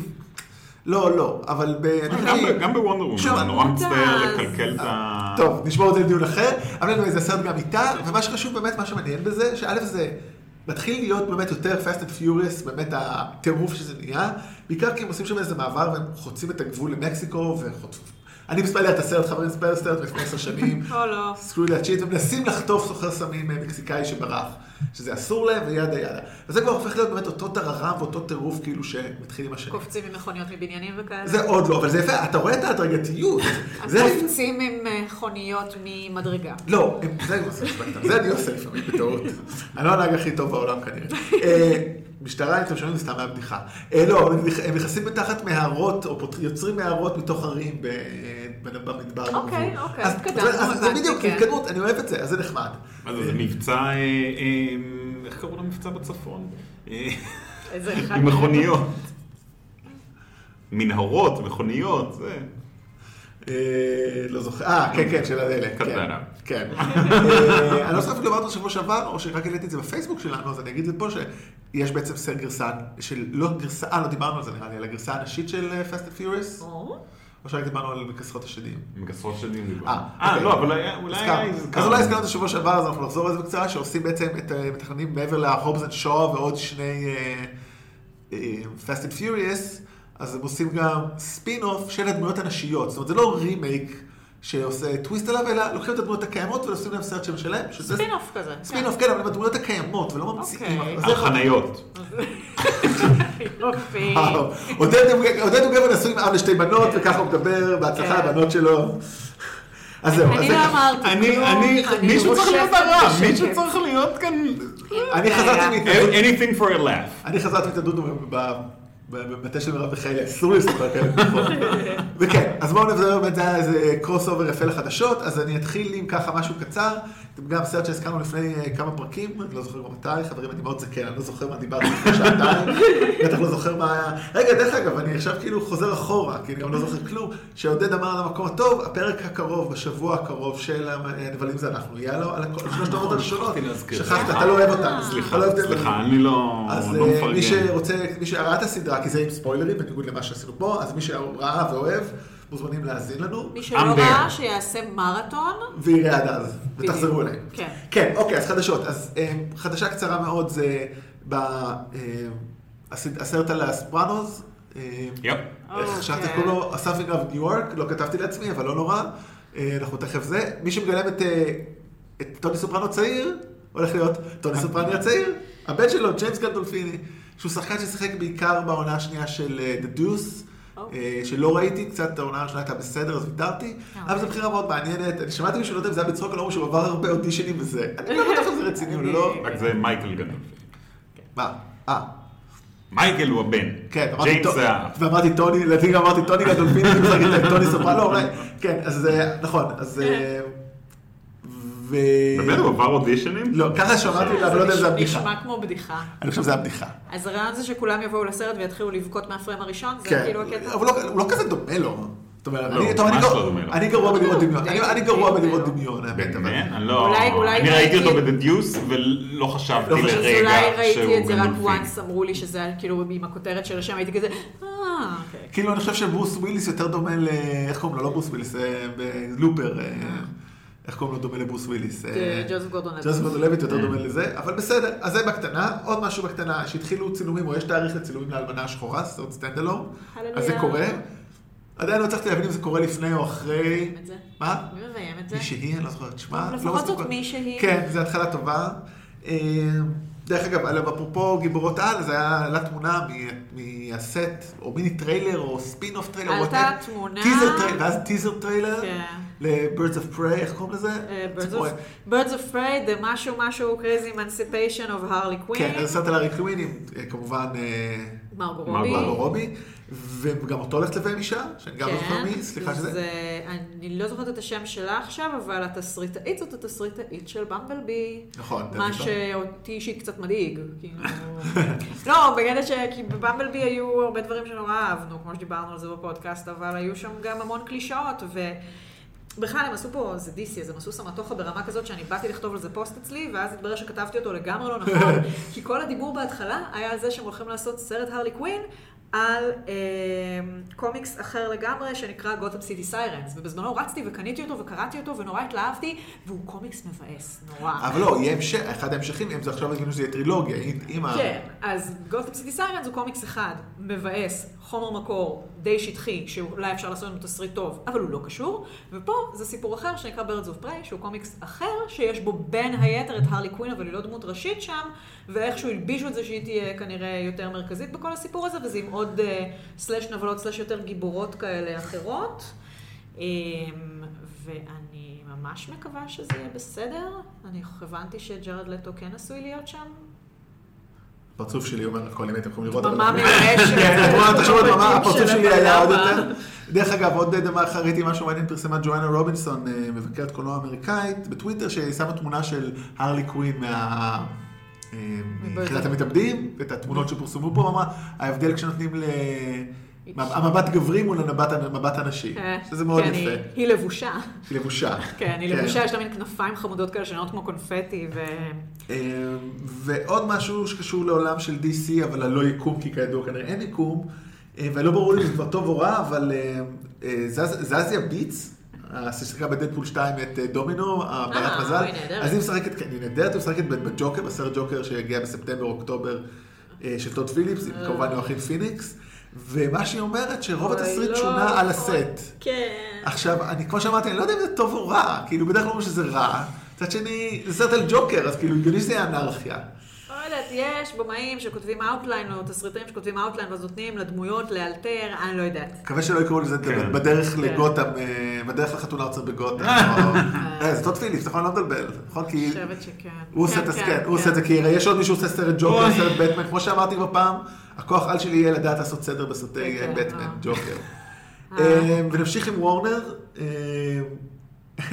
S2: לא, לא, אבל ב...
S4: גם ב- גם בוונדר
S2: שוב,
S4: וומן, אני נורא מצטער
S3: אז-
S4: לקלקל את ה...
S2: טוב, נשמור את זה לדיון אחר, אבל anyway, זה סרט גם איתה, ומה שחשוב באמת, מה שמעניין בזה, שא' זה מתחיל להיות באמת יותר Fast and Furious, באמת הטירוף שזה נהיה, בעיקר כי הם עושים שם איזה מעבר והם חוצים את הגבול למקסיקו וחוטפים. אני מספר לי את הסרט, חברים, מספר לי את הסרט לפני עשר שנים,
S3: או לא.
S2: סקרו לי הצ'יט, ומנסים לחטוף סוחר סמים אה, מקסיקאי שברח, שזה אסור להם וידה ידה. וזה כבר הופך להיות באמת אותו טררם ואותו טירוף כאילו שמתחיל עם השני.
S3: קופצים עם מכוניות מבניינים וכאלה.
S2: זה עוד לא, אבל זה יפה, אתה רואה את ההדרגתיות.
S3: אז
S2: זה-
S3: קופצים עם אה, מכוניות ממדרגה.
S2: לא, הם- זה אני עושה לפעמים, זה אני עושה לפעמים בטעות. אני לא הנהג הכי טוב בעולם כנראה. אה, משטרה, אם אתם שומעים, זה סתם מהבדיחה. אה, לא, אבל הם נכ- הם נכנסים מתחת מערות, או פות- יוצרים מערות מתוך ערים ב- אה, ב- במדבר.
S3: אוקיי,
S2: בגבול.
S3: אוקיי,
S2: אז-
S3: התקדמנו,
S2: אז זה
S3: הבנתי,
S2: בדיוק,
S3: כן.
S2: התקדמות, אני אוהב את זה, אז זה נחמד.
S4: מה זה, זה מבצע... אה, אה, איך קראו למבצע בצפון? אה,
S3: איזה אחד.
S4: עם מכוניות. מנהרות, מכוניות, זה...
S2: אה, לא זוכר, אה, כן, כן, של הדלק. כן,
S4: קטנה.
S2: כן. אה, אני לא זוכר אפילו אמרתי בשבוע שעבר, או שרק העליתי את זה בפייסבוק שלנו, אז אני אגיד את זה פה, שיש בעצם סרט גרסה, של לא גרסה, אה, לא דיברנו על זה נראה לי, על הגרסה הנשית של אה, Fast and Furious,
S3: או,
S2: או שרק דיברנו על מכסחות השדים.
S4: מכסות של דיון.
S2: אה,
S4: אה,
S2: אוקיי.
S4: לא, אבל היה- אולי...
S2: הזכרנו.
S4: היה-
S2: אז אולי הזכרנו את זה בשבוע שעבר, אז אנחנו נחזור על זה בקצרה, שעושים בעצם את אה, מתכננים מעבר להובס אנד שואו ועוד שני אה, פסט אנד פיוריאס, אז הם עושים גם ספין אוף של הדמויות הנשיות. זאת אומרת, זה לא רימייק שעושה טוויסט עליו, אלא לוקחים את הדמויות הקיימות ועושים להם סרט שם שלהם, שזה
S3: ספין אוף כזה.
S2: ספין אוף, כן, אבל עם הדמויות הקיימות, ולא ממציאים.
S3: אוקיי.
S2: אז
S4: על
S2: זה-
S4: חניות.
S3: כן,
S4: אוקיי.
S3: יופי.
S2: וואו. עודד הוא- עודד הוא גבר נשוי עם אב לשתי בנות, וככה הוא מדבר, בהצלחה
S3: כן.
S2: לבנות שלו. אז זהו, אז
S3: אני
S2: זה
S3: לא
S2: ככה.
S3: אמרתי
S4: אני,
S3: כלום,
S4: אני, מישהו צריך
S3: רושמת
S4: להיות הרע,
S3: בשקט.
S4: מישהו צריך להיות כאן...
S2: אני חזרתי
S3: כן. בעיה.
S2: מהתנדבות
S4: Anything for a laugh.
S2: אני חזרתי את הדודו ב- ב- במטה של מרב מיכאלי, אסור לי לספר כאלה בדיחות. וכן, אז בואו נדבר באמת, זה היה איזה קרוס אובר יפה לחדשות, אז אני אתחיל עם ככה משהו קצר, גם סרט שהזכרנו לפני אה, כמה פרקים, אני לא זוכר כבר מתי, חברים, אני מאוד זקן, אני לא זוכר מה דיברתי לפני שעתיים, בטח לא זוכר מה היה. רגע, דרך אגב, אני עכשיו כאילו חוזר אחורה, כי אני גם לא זוכר כלום, שעודד אמר על המקום הטוב, הפרק הקרוב, בשבוע הקרוב של הנבלים זה אנחנו, יהיה לו על הכל, שלושת העונות הראשונות,
S4: שכחתי להזכיר.
S2: שכחת, אתה לא אוהב אותנו, אתה
S4: סליחה,
S2: לא אוהב את
S4: סליחה,
S2: הנבלים.
S4: אני לא
S2: אז
S4: לא
S2: אה,
S4: מפרגן.
S2: מי שרוצה, מי שראה את הסדרה, כי זה עם ספוילרים, בניגוד למה שעשינו פה, אז מי שראה ואוהב, מוזמנים להאזין לנו,
S3: מי שלא
S4: I'm there.
S3: ראה, שיעשה מרתון.
S2: ויראה עד אז, ותחזרו
S3: בדיוק.
S2: אליהם.
S3: כן.
S2: כן, אוקיי, אז חדשות. אז אה, חדשה קצרה מאוד זה ב... אה, הסד- הסרט על הספרנוז. אה,
S4: יופ.
S2: איך שכחתי
S3: אוקיי.
S2: קוראים לו, הסאפינג אב ניו יורק, לא כתבתי לעצמי, אבל לא נורא. אה, אנחנו תכף זה. מי שמגלם את, אה, את טוני סופרנו צעיר, הולך להיות טוני סופרני הצעיר. הבן שלו, ג'יימס גנדולפיני, שהוא שחקן ששיחק בעיקר בעונה השנייה של אה, The Deuce. אה, שלא ראיתי, קצת העונה הראשונה הייתה בסדר, אז ויתרתי, אבל זו בחירה מאוד מעניינת. אני שמעתי מישהו לא יודע אם זה היה בצחוק, לא אמרו שהוא עבר הרבה אודישנים וזה. אני לא בטוח אם זה רציני או לא.
S4: רק זה מייקל גדול.
S2: מה? אה,
S4: מייקל הוא הבן.
S2: כן, אמרתי,
S4: ג'יימס
S2: טו-
S4: זה האח.
S2: ואמרתי טוני, לדעתי גם אמרתי טוני גדולפיני, כאילו זה נגיד טוני סופרנו, אולי, כן, אז אה, נכון, אז... אה, ו...
S4: באמת הוא עבר אודישנים?
S2: לא, ככה שמעתי, אבל לא יודע אם זה
S3: זה
S2: הבדיחה.
S3: נשמע כמו בדיחה.
S2: אני חושב שזה הבדיחה.
S3: אז הרעיון זה שכולם יבואו לסרט ויתחילו לבכות מהפריים הראשון, זה
S2: כן,
S3: כאילו הקטע.
S2: אבל לא- הוא לא כזה דומה לו. זאת אומרת,
S4: לא,
S2: אני- טוב, אני
S4: ממש
S2: גר-
S4: לא דומה לו.
S2: אני גרוע בלראות
S3: לא,
S2: דמיון, אני
S3: די
S2: אני גרוע
S3: דומה
S2: בלראות
S3: לו.
S2: דמיון, האמת, אבל...
S4: באמת? אני לא...
S3: אולי- אולי
S4: אני ראיתי
S3: ראיתי-
S4: אותו בדדיוס ולא חשבתי
S2: לא
S4: לרגע
S2: חשבתי,
S4: שהוא
S3: אז אולי ראיתי את זה רק
S4: גדולפין.
S3: once, אמרו לי שזה היה כאילו עם הכותרת של השם, הייתי כזה, אה, אוקיי.
S2: כאילו, אני חושב שברוס וויליס יותר דומה ל... איך קוראים לו? לא ברוס וויליס, אה, ב- לופר. אה, איך קוראים לו דומה לברוס וויליס? אה,
S3: כן, ג'וזף גורדון-לויט.
S2: ג'וזף גורדון-לויט יותר דומה לזה, אבל בסדר. אז זה בקטנה. עוד משהו בקטנה, שהתחילו צילומים, או יש תאריך לצילומים לאלמנה השחורה, סרט סטנדלון. אז זה
S3: הללויה.
S2: קורה. עדיין לא הצלחתי להבין אם זה קורה לפני או אחרי.
S3: את זה.
S2: מה?
S3: מי מביים את זה?
S2: מישהי, אני לא זוכרת שמה.
S3: לפחות
S2: לא מספיק
S3: זאת
S2: כבר.
S3: מישהי.
S2: כן, זו התחלה טובה. אה, דרך אגב, אגב, אפרופו גיבורות על, זה היה, עלה תמונה מ- מהסט, או מיני טריילר, או ספין אוף טריילר,
S3: עלתה
S2: whatever.
S3: תמונה.
S2: טיזר טריילר, ואז טיזר טריילר,
S3: כן.
S2: ל-Birds of Prey, איך קוראים לזה?
S3: אה, Birds
S2: ציפורים.
S3: of- Birds of Prey, The משהו משהו Crazy Emancipation of Harley
S2: כן,
S3: Quinn,
S2: אז סרט על הארי קווין, עם, אה, כמובן אה,
S3: מרגו
S4: מרגו
S3: רובי.
S2: מרגו רובי, וגם אותו הולכת לביים אישה, שאני גם לא זוכר מי, סליחה שזה.
S3: זה- כן, אני לא זוכרת את השם שלה עכשיו, אבל התסריטאית זאת התסריטאית של במבלבי.
S2: נכון, דרך
S3: מה
S2: אגב.
S3: שאותי אישית קצת מדאיג, כאילו... לא, בגלל ש... כי בבמבלבי היו הרבה דברים שנורא אהבנו, כמו שדיברנו על זה בפודקאסט, אבל היו שם גם המון קלישאות, ו... בכלל הם עשו פה, זה DC, אז הם עשו סמטוחה ברמה כזאת שאני באתי לכתוב על זה פוסט אצלי, ואז התברר שכתבתי אותו לגמרי לא נכון, כי כל הדיבור בהתחלה היה על זה שהם הולכים לעשות סרט הרלי קווין על אה, קומיקס אחר לגמרי שנקרא גותם סיטי סיירנס, ובזמנו רצתי וקניתי אותו וקראתי אותו ונורא התלהבתי, והוא קומיקס מבאס, נורא.
S2: אבל לא, יהיה המשך, אחד ההמשכים, אם זה עכשיו הגיוני שזה יהיה טרילוגיה, אם- אם ה...
S3: כן, אז גותם סיטי סיירנס הוא קומיקס אחד, מבאס, חומר מקור, די שטחי, שאולי אפשר לעשות לנו תסריט טוב, אבל הוא לא קשור, ופה זה סיפור אחר שנקרא Birds of Prey, שהוא קומיקס אחר, שיש בו בין היתר את הרלי קווין, אבל היא לא דמות ראשית שם, ואיכשהו הלבישו את זה שהיא תהיה כנראה יותר מרכזית בכל הסיפור הזה, וזה עם עוד אה, סלאש נבלות, סלאש יותר גיבורות כאלה אחרות. אמ, ואני ממש מקווה שזה יהיה בסדר. אני הבנתי שג'רד לטו כן עשוי להיות שם,
S2: הפרצוף שלי אומר הכל, אם הייתם יכולים לראות... אבל-
S3: דממה מרעשת.
S2: כן, את רואה, תחשוב על דממה, הפרצוף
S3: של
S2: שלי היה עוד
S3: הבלבה.
S2: יותר. דרך אגב, עוד דבר אחר, ראיתי משהו מעניין, פרסמה ג'ואנה רובינסון, אה, מבקרת קולנוע אמריקאית, בטוויטר, שהיא שמה תמונה של הרלי קווין מה... אה, מיחידת המתאבדים, ואת התמונות שפורסמו פה, אמרה, ההבדל כשנותנים ל... המבט גברי מול המבט המבט הנשי,
S3: כן,
S2: שזה מאוד
S3: כן,
S2: יפה,
S3: היא- היא לבושה.
S2: היא לבושה.
S3: כן, היא לבושה, יש לה מין כנפיים חמודות כאלה שנראות כמו קונפטי, ו-
S2: אה, ועוד משהו שקשור לעולם של DC, אבל הלא יקום, כי כידוע כנראה אין יקום, אה, ולא ברור לי אם זה כבר טוב או רע, אבל אה, אה, זז- זזיה ביץ, אה, ששיחקה בדדפול 2 את אה, דומינו, הבעלת
S3: אה,
S2: מזל,
S3: היא נהדרת.
S2: אז היא משחקת, כן, היא נהדרת, היא משחקת ב- בג'וקר, בסרט ג'וקר שיגיע בספטמבר-אוקטובר אה, של טוד פיליפס, עם כמובן יואכין פיניקס, ומה שהיא אומרת, שרוב התסריט
S3: אה. אוי, לא,
S2: שונה על
S3: נכון.
S2: הסט.
S3: כן.
S2: עכשיו, אני, כמו שאמרתי, אני לא יודע אם זה טוב או רע, כאילו, בדרך כלל אומרים שזה רע. מצד שני, זה סרט על ג'וקר, אז כאילו, הגיוני שזה יהיה אנרכיה.
S3: לא יודעת, יש במאים שכותבים אאוטליין, או תסריטים שכותבים אאוטליין, ואז נותנים לדמויות לאלתר, אני לא יודעת.
S2: מקווה שלא יקראו לזה
S4: כן.
S2: בדרך
S3: כן.
S2: לגותם, אה, בדרך לחתונה ארצות בגותם. או- אה, זה טוד פיליפס, נכון? לא מבלבל, נכון?
S3: אני
S2: כי
S3: חושבת שכן.
S2: הוא עושה
S3: כן,
S2: את זה,
S3: כן,
S2: כן, הוא עושה את זה, כי הרי יש עוד מישהו שעושה סרט ג'וקר,
S4: אוי.
S2: סרט בטמן, כמו שאמרתי כבר פעם, הכוח על שלי יהיה לדעת לעשות סדר בסרטי
S3: כן,
S2: אה,
S3: כן,
S2: בטמן,
S3: אה.
S2: ג'וקר.
S3: אה.
S2: אה, ונמשיך עם וורנר, אה,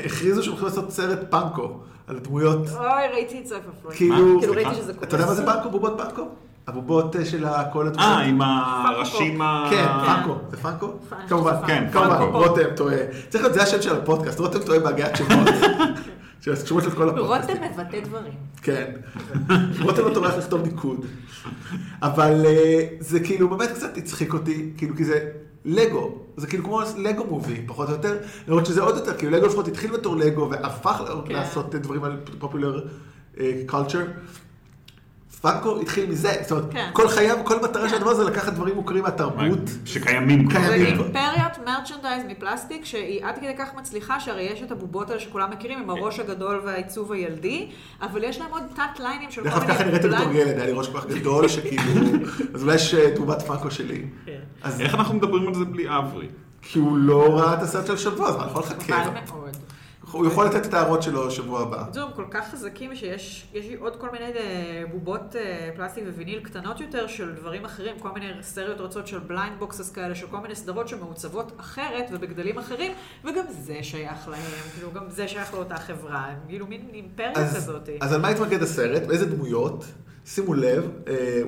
S2: הכריזו שהם הולכים לעשות סרט פאנקו, על דמויות.
S3: אוי, ראיתי את סוף הפרק.
S2: כאילו,
S3: כאילו
S4: סליחה?
S3: ראיתי שזה קורה.
S2: אתה יודע מה זה פאנקו? בובות פאנקו? הבובות אה, של ה- כל התמונות.
S4: אה, עם הראשים ה...
S2: כן, פאנקו. זה פאנקו?
S3: פאנקו,
S2: כמובן,
S4: כן,
S2: כמובן,
S4: פאנקו.
S2: רותם טועה. צריך להיות, זה השם של הפודקאסט, רותם טועה בהגיית שמות. שקשורות של כל הפודקאסט.
S3: רותם מבטא דברים.
S2: כן. רותם לא טורח לכתוב ניקוד. אבל אה, זה כאילו באמת קצת הצחיק אותי, כאילו כי זה לגו, זה כאילו כמו לגו מובי, פחות או יותר, למרות שזה עוד יותר, כאילו לגו לפחות התחיל בתור לגו והפך
S3: כן.
S2: לעשות דברים על פופולר קולצ'ר. פאנקו התחיל מזה, זאת אומרת,
S3: כן.
S2: כל חייו, כל מטרה של הדבר הזה לקחת דברים מוכרים מהתרבות.
S4: שקיימים. כבר.
S3: זה
S2: קיימים.
S4: כן.
S3: אימפריית מרצ'נדייז מפלסטיק שהיא עד כדי כך מצליחה שהרי יש את הבובות האלה שכולם מכירים עם הראש הגדול והעיצוב הילדי אבל יש להם עוד תת ליינים של
S2: דרך
S3: כל
S2: אגב, ככה נראית בתור
S3: מיני
S2: ילד, היה לי ראש כל כך גדול, שכאילו, אז אולי יש אה, תרומת פאנקו שלי.
S3: כן.
S2: אז
S4: איך אנחנו מדברים על זה בלי אברי?
S2: כי הוא לא ראה את הסרט של שבוע, אז מה, לא אני יכול לחכה.
S3: בליים. מאוד.
S2: הוא יכול לתת את ההערות שלו שבוע הבא.
S3: זום כל כך חזקים שיש יש לי עוד כל מיני אה, בובות אה, פלסטיק וויניל קטנות יותר של דברים אחרים, כל מיני סריות רצות של בליינד בוקסס כאלה, של כל מיני סדרות שמעוצבות אחרת ובגדלים אחרים, וגם זה שייך להם, כאילו גם זה שייך לאותה חברה, הם כאילו מין אימפריה
S2: אז
S3: כזאת.
S2: אז על מה התמקד הסרט? באיזה דמויות? שימו לב,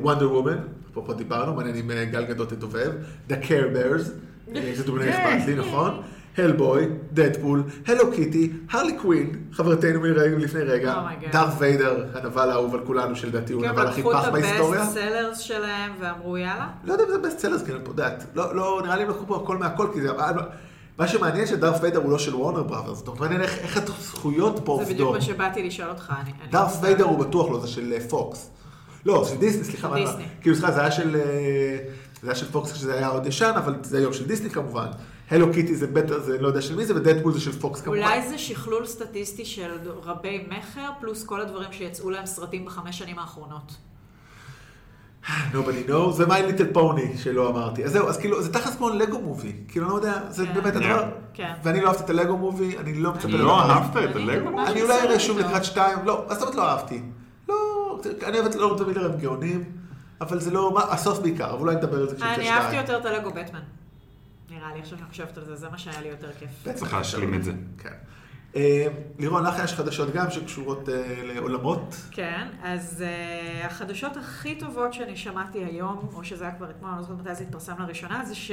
S2: וונדר וומן, אפרופו דיברנו, מעניין אם אה, גל גדות תדובב, The Care Bears, אה, זה דוגמא
S3: כן.
S2: אכפת לי, נכון? הלבוי, דדפול, הלו קיטי, הרלי קווין, חברתנו מרגע לפני רגע,
S3: אומייגאד.
S2: דארט ויידר, הנבל האהוב על כולנו, שלדעתי הוא
S3: Oh כן,
S2: הנבל הכי
S3: לקחו את
S2: פח בהיסטוריה.
S3: הבסט סלרס שלהם ואמרו יאללה.
S2: לא יודע אם זה בסט סלרס, כי אני פה יודעת. לא, לא, נראה לי הם לקחו פה הכל מהכל, כי זה... מה שמעניין שדארף ויידר הוא לא של וורנר בראברס, זאת אומרת, מעניין איך- איך הזכויות פה
S3: זה בדיוק
S2: עובדות.
S3: מה שבאתי לשאול אותך. אני- אני-
S2: דארף ויידר הוא בטוח לא, זה של אה, פוקס. לא, של דיסני, סליחה. מה-
S3: דיסני.
S2: כאילו, סליחה, זה היה של... אה, זה היה של פוקס כשזה היה עוד ישן, אבל זה היום של דיסני כמובן. הלו קיטי זה בטח, זה לא יודע של מי זה, ודדפול זה של פוקס כמובן.
S3: אולי זה שכלול סטטיסטי של רבי מכר, פלוס כל הדברים שיצאו להם סרטים בחמש שנים האחרונות.
S2: Nobody knows, ומיי ליטל פוני שלא אמרתי. אז זהו, אז כאילו, זה תכלס כמו לגו מובי. כאילו, אני לא יודע, זה
S3: כן.
S2: באמת
S4: כן.
S2: הדבר.
S3: כן.
S2: ואני לא אהבתי את הלגו מובי, אני לא מצפה לדבר
S4: לא
S2: הזה.
S4: אהבת את
S3: אני
S4: הלגו?
S3: ממש-
S2: אני
S3: אני
S2: אולי
S3: בסדר
S2: אראה שוב
S3: איתו.
S2: לקראת שתיים, לא, אז זאת אומרת לא אהבתי. לא, אני אוהב את לורד ומילר הם גאונים, אבל זה לא, מה, הסוף בעיקר, אבל אולי נדבר על זה כשיצא שתיים.
S3: אני אהבתי יותר את הלגו בטמן. נראה לי, עכשיו שאני חושבת על זה, זה מה שהיה לי יותר כיף.
S2: בעצם
S4: צריך להשלים את זה.
S2: כן. אה, לירון, לך יש חדשות גם שקשורות אה, לעולמות.
S3: כן, אז uh, החדשות הכי טובות שאני שמעתי היום, או שזה היה כבר אתמול, אני לא זוכרת מתי זה התפרסם לראשונה, זה ש...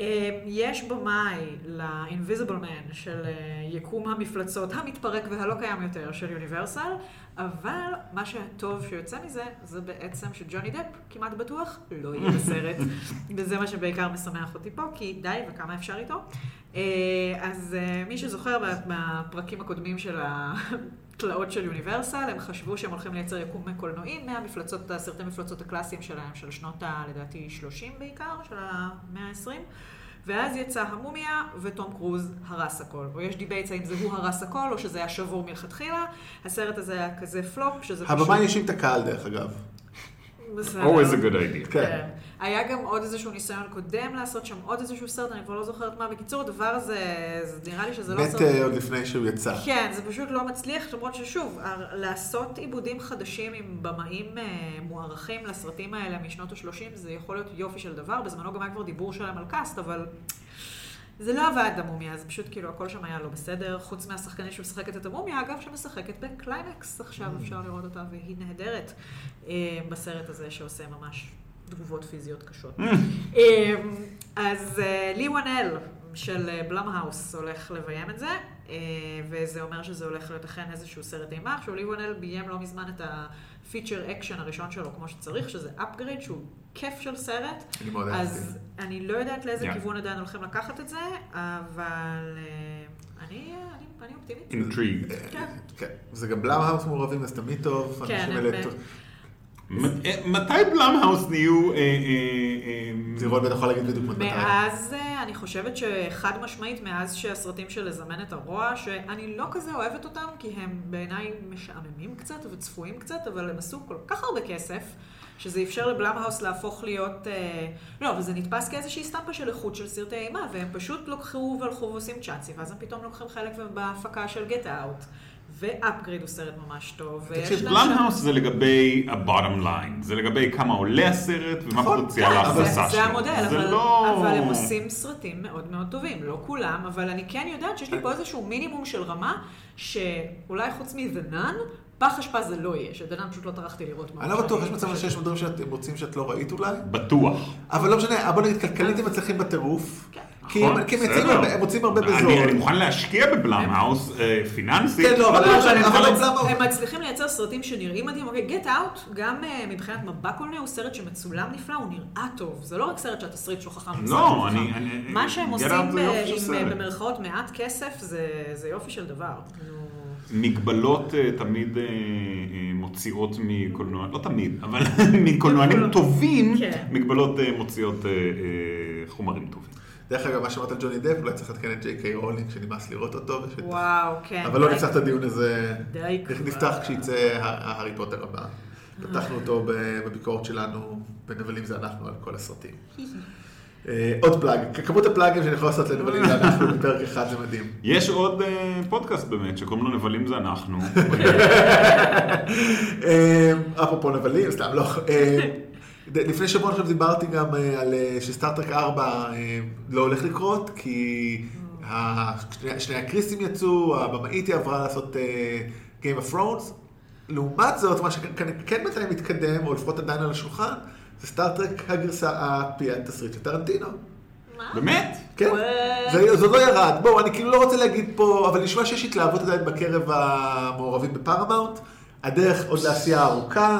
S3: אה, יש במאי ל-Invisible Man של אה, יקום המפלצות המתפרק והלא קיים יותר של יוניברסל, אבל מה שטוב שיוצא מזה, זה בעצם שג'וני דפ כמעט בטוח לא יהיה בסרט. וזה מה שבעיקר משמח אותי פה, כי די וכמה אפשר איתו. אה, אז אה, מי שזוכר מה- מהפרקים הקודמים של התלאות של יוניברסל, הם חשבו שהם הולכים לייצר יקום קולנועים מהמפלצות, הסרטי מפלצות הקלאסיים שלהם, של שנות ה... לדעתי 30 בעיקר, של המאה ה-20. ואז יצא המומיה, ותום קרוז הרס הכל. או יש דיבייטס האם זה הוא הרס הכל, או שזה היה שבור מלכתחילה. הסרט הזה היה כזה פלופ, שזה
S2: הבמאי האשים את הקהל דרך אגב.
S3: בסדר.
S4: Always a Oh, good idea.
S2: כן.
S3: כן. היה גם עוד איזשהו ניסיון קודם לעשות שם עוד איזשהו סרט, אני כבר לא זוכרת מה. בקיצור, הדבר הזה, זה נראה לי שזה לא
S2: מת
S3: סרט...
S2: אה, עוד לפני שהוא יצא.
S3: כן, זה פשוט לא מצליח, למרות ששוב, ה- לעשות עיבודים חדשים עם במאים אה, מוערכים לסרטים האלה משנות ה-30, זה יכול להיות יופי של דבר. בזמנו גם היה כבר דיבור שלהם על קאסט, אבל זה לא עבד המומיה, זה פשוט כאילו הכל שם היה לא בסדר, חוץ מהשחקנית שמשחקת את המומיה, אגב, שמשחקת בקליימקס עכשיו, אפשר לראות אותה, והיא נהדרת אה, בסרט הזה שעושה ממש תגובות פיזיות קשות. אה, אז אה, לי וואנל של אה, בלאם האוס הולך לביים את זה, אה, וזה אומר שזה הולך להיות אכן איזשהו סרט אימה. עכשיו, לי וואנל ביים לא מזמן את הפיצ'ר אקשן הראשון שלו כמו שצריך, שזה upgrade, שהוא כיף של סרט.
S2: אני מאוד אהבתי.
S3: אז אני לא יודעת לאיזה
S4: Yeah.
S3: כיוון עדיין הולכים לקחת את זה, אבל אה, אני, אני, אני אופטימית.
S4: Intrigued.
S3: כן.
S2: כן. זה גם בלאם האוס מעורבים, אז תמיד טוב.
S3: כן,
S2: אנשים
S3: הם,
S2: אלה
S3: אה,
S2: טוב.
S4: מ- אה, מתי בלאמהאוס נהיו... אה, אה, אה,
S2: לירון בטח יכול להגיד בדיוק מתי.
S3: מאז, אה, אני חושבת שחד משמעית, מאז שהסרטים של לזמן את הרוע, שאני לא כזה אוהבת אותם, כי הם בעיניי משעממים קצת וצפויים קצת, אבל הם עשו כל כך הרבה כסף, שזה אפשר לבלאמהאוס להפוך להיות... אה, לא, וזה נתפס כאיזושהי סטמפה של איכות של סרטי אימה, והם פשוט לקחו והלכו ועושים צ'אנסים, ואז הם פתאום לוקחים חלק בהפקה של גט אאוט. ואפגריד הוא סרט ממש טוב. ויש
S2: תקשיב,
S3: להם שם-
S4: בלאמהאוס זה לגבי ה-bottom line, זה לגבי כמה עולה הסרט ומה
S2: נכון,
S4: פוטנציאל
S2: כן,
S3: אבל
S4: ההכנסה שלו.
S3: זה המודל,
S4: זה
S3: אבל,
S4: לא-
S3: אבל הם עושים סרטים מאוד מאוד טובים, לא כולם, אבל אני כן יודעת שיש לי פה איזשהו מינימום של רמה, שאולי חוץ מ"דנן", פח אשפה זה לא יהיה, ש"דנן" פשוט לא טרחתי לראות מה
S2: אני
S3: הוא
S2: לא בטוח,
S3: שם.
S2: יש מצב שיש דברים שאתם רוצים שאת לא ראית אולי?
S4: בטוח.
S2: אבל לא משנה, בוא נגיד, כלכלית הם מצליחים בטירוף.
S3: כן.
S2: כי הם כי הם
S4: נכון? בסדר.
S2: מייצרים הרבה- הם מוצאים הרבה
S4: אני-
S2: בזול.
S4: אני מוכן להשקיע בבלאמהאוס אה, פיננסית.
S2: כן, לא, אבל
S4: בטוח
S2: לא משנה,
S4: שאני
S2: אבל
S4: מוכן-
S2: לא בלאם האוס.
S3: הם מצליחים לייצר סרטים שנראים מדהים, אוקיי, גט אאוט, גם אה, מבחינת מבע קולנוע, הוא סרט שמצולם נפלא, הוא נראה טוב. זה לא רק סרט שהתסריט שלו חכם.
S4: לא,
S3: הוא סרט
S4: אני-
S3: חכם.
S4: אני-
S3: מה שהם
S4: Get
S3: עושים
S4: Out זה
S3: ב-
S4: יופי של
S3: עם,
S4: סרט.
S3: אה, במרכאות מעט כסף, זה- זה יופי של דבר. כאילו,
S4: מגבלות אה, תמיד אה, אה, מוציאות מקולנוע, לא תמיד, אבל מקולנוענים טובים,
S3: כן.
S4: מגבלות אה, מוציאות אה, אה, חומרים טובים.
S2: דרך אגב, מה שאמרת על ג'וני דב, אולי צריך לעדכן את ג'יי קיי רולינג, שנמאס לראות אותו. ושת-
S3: וואו, כן.
S2: אבל לא
S3: די
S2: נפתח את הדיון הזה.
S3: די כבר.
S2: נפתח כשיצא ה- ההארי פוטר הבא. פתחנו אותו ב- בביקורת שלנו, בנבלים זה אנחנו, על כל הסרטים. אה, עוד פלאג, כמות הפלאגים שאני יכול לעשות לנבלים זה אנחנו בפרק אחד זה מדהים.
S4: יש עוד אה, פודקאסט באמת, שקוראים לו נבלים זה אנחנו.
S2: אה, אפרופו נבלים, סתם, לא. אה, ד- לפני שבוע עכשיו דיברתי גם אה, על אה, שסטארט-טרק 4 אה, לא הולך לקרות, כי ה- שני- שני הקריסים יצאו, הבמאית היא עברה לעשות אה, Game of Thrones. לעומת זאת, מה שכן כן, בינתיים מתקדם, או לפחות עדיין על השולחן, זה סטארט-טרק הגרסה על פי התסריט של טרנטינו.
S3: מה?
S4: באמת?
S2: כן,
S3: וואו.
S2: זה זה עוד לא ירד. בואו, אני כאילו לא רוצה להגיד פה, אבל נשמע שיש התלהבות עדיין בקרב המעורבים בפרמאונט. הדרך עוד לעשייה ארוכה,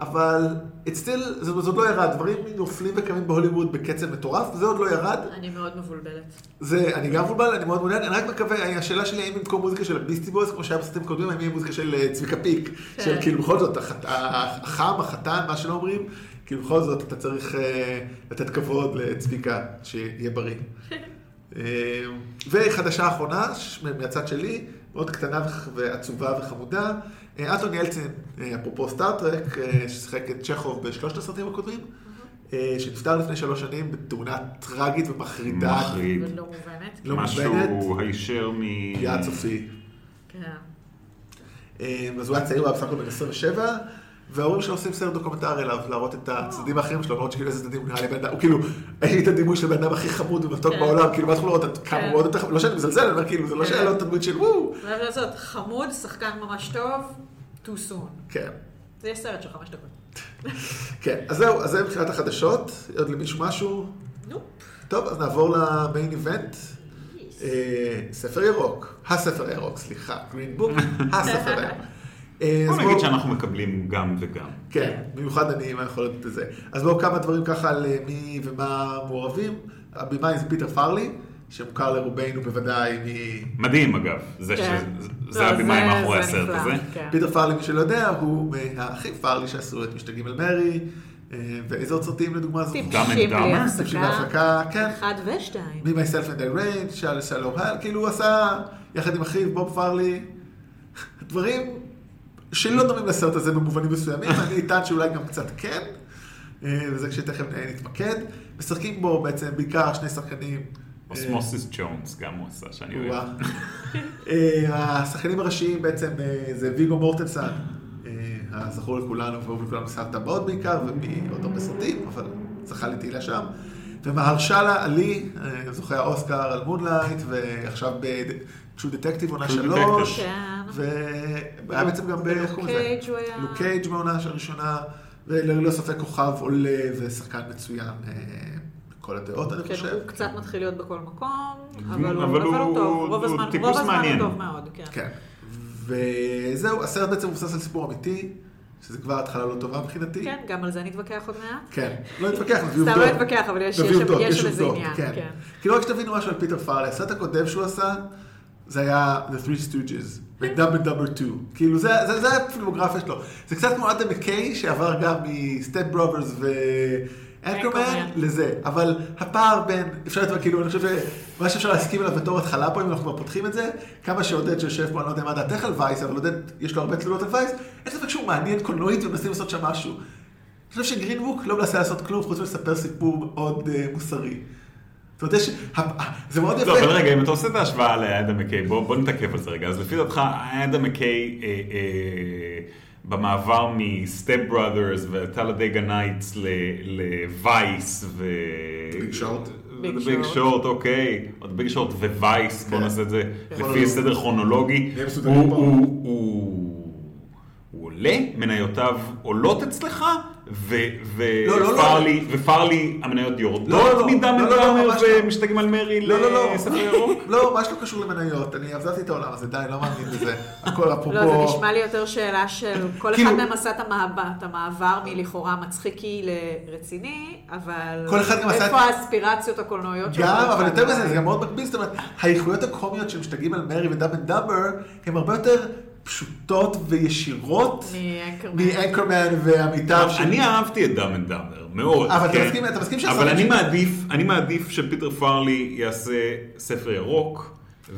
S2: אבל it's still, זה זה עוד לא ירד. דברים נופלים וקמים בהוליווד בקצב מטורף, זה עוד לא ירד.
S3: אני מאוד מבולבלת.
S2: זה, אני גם מבולבל, אני מאוד מעוניין, אני רק מקווה, השאלה שלי האם במקום מוזיקה של הביסטי בויז, כמו שהיה בסרטים קודמים, האם יהיה מוזיקה של אה, צביקה פיק,
S3: כן.
S2: של כאילו בכל זאת, החת- החם, החתן, מה שלא אומרים, כאילו בכל זאת אתה צריך אה, לתת כבוד לצביקה, שיהיה בריא. אה, וחדשה אחרונה, ש- מהצד שלי, מאוד קטנה וח- ועצובה וחמודה, אה, אנטון ילצין, אה, אפרופו סטארט-טרק, אה, ששיחק את צ'כוב בשלושת הסרטים הקודמים, אה, שנפטר לפני שלוש שנים בתאונה טראגית ומחרידה.
S4: מחריד.
S3: ולא מובנת.
S2: לא
S4: משהו
S2: מובנת.
S4: הישר מ...
S2: פגיעה צופי.
S3: כן.
S2: אה, אז הוא היה צעיר, הוא היה בסך הכל בן 27, וההורים שלו עושים סרט דוקומנטרי עליו, להראות את הצדדים האחרים שלו, למרות שכאילו איזה צדדים הוא נראה לי בן אדם, הוא כאילו, יש לי את הדימוי של הבן אדם הכי חמוד ומתוק
S3: כן.
S2: בעולם, כאילו, מה אנחנו לראות עד כמה
S3: כן.
S2: הוא עוד יותר חמוד, לא שאני מזלזל, אני אומר כאילו, זה לא
S3: כן.
S2: שהיה לו את הדמות של וואו,
S3: חייב לעשות חמוד, שחקן ממש טוב, too soon.
S2: כן,
S3: זה יהיה סרט של חמש דקות.
S2: כן, אז זהו, אז זה מבחינת החדשות, עוד למישהו משהו?
S3: נופ.
S2: טוב, אז נעבור למיין איבנט. אה, ספר ירוק, הספר הירוק, סליחה, גרין בוק, הספר הירוק. אה, אז
S4: בוא נגיד
S2: בואו-
S4: שאנחנו מקבלים גם וגם.
S2: כן, במיוחד אני עם היכולת לזה. אז בואו כמה דברים ככה על אה, מי ומה מעורבים. הבמאי זה פיטר פארלי, שמוכר לרובנו בוודאי מ...
S4: מדהים אגב, זה
S3: כן.
S4: ש-
S3: לא,
S4: זה הבמאי
S3: זה-
S4: מאחורי
S3: זה
S4: הסרט
S3: נפלא,
S4: הזה.
S3: כן.
S2: פיטר פארלי, מי שלא יודע, הוא מהאחים פארלי שעשו את משתגעים על מרי, אה, ואיזה עוד סרטים לדוגמה זו?
S3: טיפשים
S4: דמה.
S3: בלי
S2: טיפשים
S3: הפסקה.
S2: בהפקה, כן.
S3: אחד ושתיים.
S2: מי מייסלף אנד ריינד, שאל שלום הל, כאילו הוא עשה, יחד עם אחיו, בוב פארלי, דברים שלא דומים לסרט הזה במובנים מסוימים, אני אטען שאולי גם קצת כן, אה, וזה כשתכף אה, נתמקד. משחקים בו בעצם בעיקר שני שחקנים. אה,
S4: אוסמוסיס ג'ונס גם הוא עשה, שאני
S2: וואה.
S4: אוהב.
S2: אה, השחקנים הראשיים בעצם אה, זה ויגו מורטנסן, אה, הזכור לכולנו, והוא לכולנו סרט טבעות בעיקר, ומעוד הרבה סרטים, אבל זכה לתהילה שם. ומהרשאלה עלי, אה, זוכה האוסקר על מונלייט, ועכשיו ב-True Detective עונה
S4: True
S2: שלוש.
S4: Detective.
S3: כן.
S2: והיה בעצם גם ב... איך קוראים לזה?
S3: לוק קייג' הוא היה.
S2: לוק קייג' בעונה הראשונה, וללא ספק כוכב עולה ושחקן מצוין אה, בכל הדעות, אני
S3: כן,
S2: חושב.
S3: הוא קצת מתחיל להיות בכל מקום,
S4: אבל
S3: אבל הוא- אבל
S4: הוא-
S3: הוא טוב, רוב
S4: הוא
S3: הזמן רוב
S4: טיפוס
S3: הזמן
S4: מעניין.
S3: הוא טוב מאוד, כן.
S2: כן. וזהו, הסרט בעצם מבוסס על סיפור אמיתי, שזה כבר התחלה לא טובה מבחינתי.
S3: כן, גם על זה נתווכח עוד מעט.
S2: כן. לא נתווכח, נביא עובדות.
S3: סתם לא נתווכח, אבל יש-
S2: נביא
S3: יש-
S2: עובדות,
S3: יש לזה
S2: עובדות,
S3: עניין, כן.
S2: כאילו רק שתבינו משהו על פיטר פארלי, הסרט הקודם שהוא עשה, זה היה The Three Stooges, ודאבל דאבל 2. כאילו זה זה- זה הפילמוגרפיה שלו. זה קצת כמו אדם מקיי, שעבר גם מסטייט ברוברס ו... אנקרמן
S3: אנקרמן.
S2: לזה, אבל הפער בין, אפשר לתת, כאילו, אני חושב שמה שאפשר להסכים עליו בתור התחלה פה, אם אנחנו כבר פותחים את זה, כמה שעודד שיושב פה, אני לא יודע מה דעתך על וייס, אבל עודד, יש לו הרבה תלונות על וייס, אין ספק שהוא מעניין קולנועית ומנסים לעשות שם משהו. אני חושב שגרינבוק לא מנסה לעשות כלום חוץ מלספר סיפור מאוד אה, מוסרי. זאת אומרת, יש... ה- ה- זה מאוד יפה.
S4: לא, אבל רגע, אם אתה עושה את ההשוואה לאדם מקיי, בוא בוא נתעכב על זה רגע. אז לפי דעתך, אדם מקיי אה, אה, במעבר מסטפ בראדרס וטלדגה נייטס לווייס ו...
S2: ביג שורט.
S3: ביג
S4: ביג
S3: שורט.
S4: שורט, אוקיי. עוד ביג שורט ווייס, בוא
S2: כן.
S4: נעשה את זה לפי
S2: לא.
S4: סדר כרונולוגי.
S2: נהיה מסודרים
S4: הוא-
S2: פה.
S4: הוא- הוא הוא עולה, מניותיו עולות אצלך, ו- ו-
S2: לא, לא, לא.
S4: פארלי- ופארלי המניות
S2: לא,
S4: יורדות
S2: לא,
S4: מדאם
S2: לא, לא, לא,
S4: ודאמר
S2: ממש לא.
S4: ומשתגעים על מרי
S2: לא, לא,
S3: אה,
S2: לא.
S4: לספר ירוק?
S2: לא, ממש לא קשור למניות, אני עזבתי את העולם הזה, די, לא מאמין בזה. הכל אפרופו...
S3: לא, זה נשמע לי יותר שאלה של כל
S2: כאילו-
S3: אחד מהם עשה את המעבר- את המעבר מלכאורה מצחיקי לרציני, אבל
S2: כל אחד גם עשה-
S3: איפה האספירציות הקולנועיות שלו?
S2: גם, אבל יותר מזה, זה גם מאוד מקביל, זאת אומרת, האיכויות הקומיות שמשתגעים על מרי ודאב אנד דאבר, הן הרבה יותר פשוטות וישירות
S3: מאנקרמן.
S2: אה, מאנקרמן והמיטב של...
S4: לא, אני אהבתי את דאם אנד דאמר, מאוד.
S2: אבל אתה
S4: כן.
S2: מסכים- אתה מסכים שהסרט
S4: אבל אני
S2: ש-
S4: מעדיף, אני מעדיף שפיטר פארלי יעשה ספר ירוק,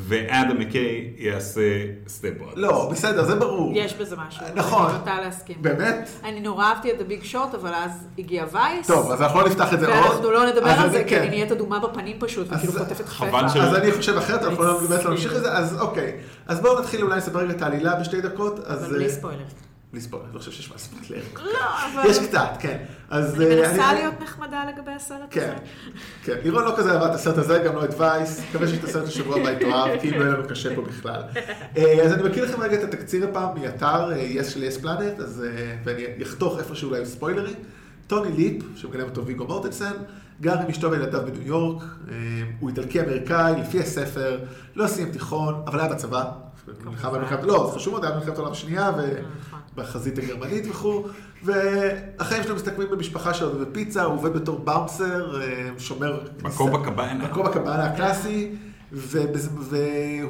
S4: ואדם מקיי יעשה סטפ ראדרס.
S2: לא, בסדר, זה ברור.
S3: יש בזה משהו.
S2: נכון.
S3: אני נוטה להסכים.
S2: באמת?
S3: אני נורא אהבתי את הביג שורט, אבל אז הגיע וייס.
S2: טוב, אז אנחנו לא נפתח את זה עוד.
S3: ואנחנו לא נדבר
S2: אז
S3: על
S2: אני-
S3: זה, כי
S2: כן.
S3: אני נהיית אדומה בפנים פשוט,
S2: אז-
S3: וכאילו חוטפת חפץ.
S4: חבל שלא.
S2: אז אני חושב אחרת, אנחנו לא באמת לא נמשיך
S3: מצטער.
S2: את זה, אז אוקיי. אז בואו נתחיל אולי לספר רגע את העלילה בשתי דקות. אז,
S3: אבל בלי
S2: אה,
S3: ספוילר.
S2: בלי ספוילר, לא חושב שיש מה לספוילר.
S3: לא, אבל...
S2: יש קצת, כן. אז...
S3: אני
S2: אה,
S3: מנסה להיות נחמדה לגבי הסרט הזה.
S2: כן, כן. לירון לא כזה אהבה את הסרט הזה, גם לא את וייס. מקווה שאת הסרט השבוע הבא היא תאהב, כי אם לא יהיה לנו קשה פה בכלל. אה, אז אני מקריא לכם רגע את התקציר הפעם מאתר אה, יס של יס פלנט, אז אה, ואני אחתוך איפשהו אולי ספוילרים. טוני ליפ, שמגלם אותו ויגו מורטנסן, גר עם אשתו וילדיו בניו יורק, אה, הוא איטלקי אמריקאי, לפי הספר, לא סיים תיכון, אבל היה בצבא. במלחמה- במלחמת- לא, זה חשוב מאוד, היה במלחמת העולם השנייה,
S3: נכון.
S2: בחזית הגרמנית וכו', והחיים שלו מסתכמים במשפחה שלו בפיצה, הוא עובד בתור באונסר, אה, שומר...
S4: מקום
S2: כניסה-
S4: בקבאנה.
S2: מקום בקבאנה הקלאסי, ובז-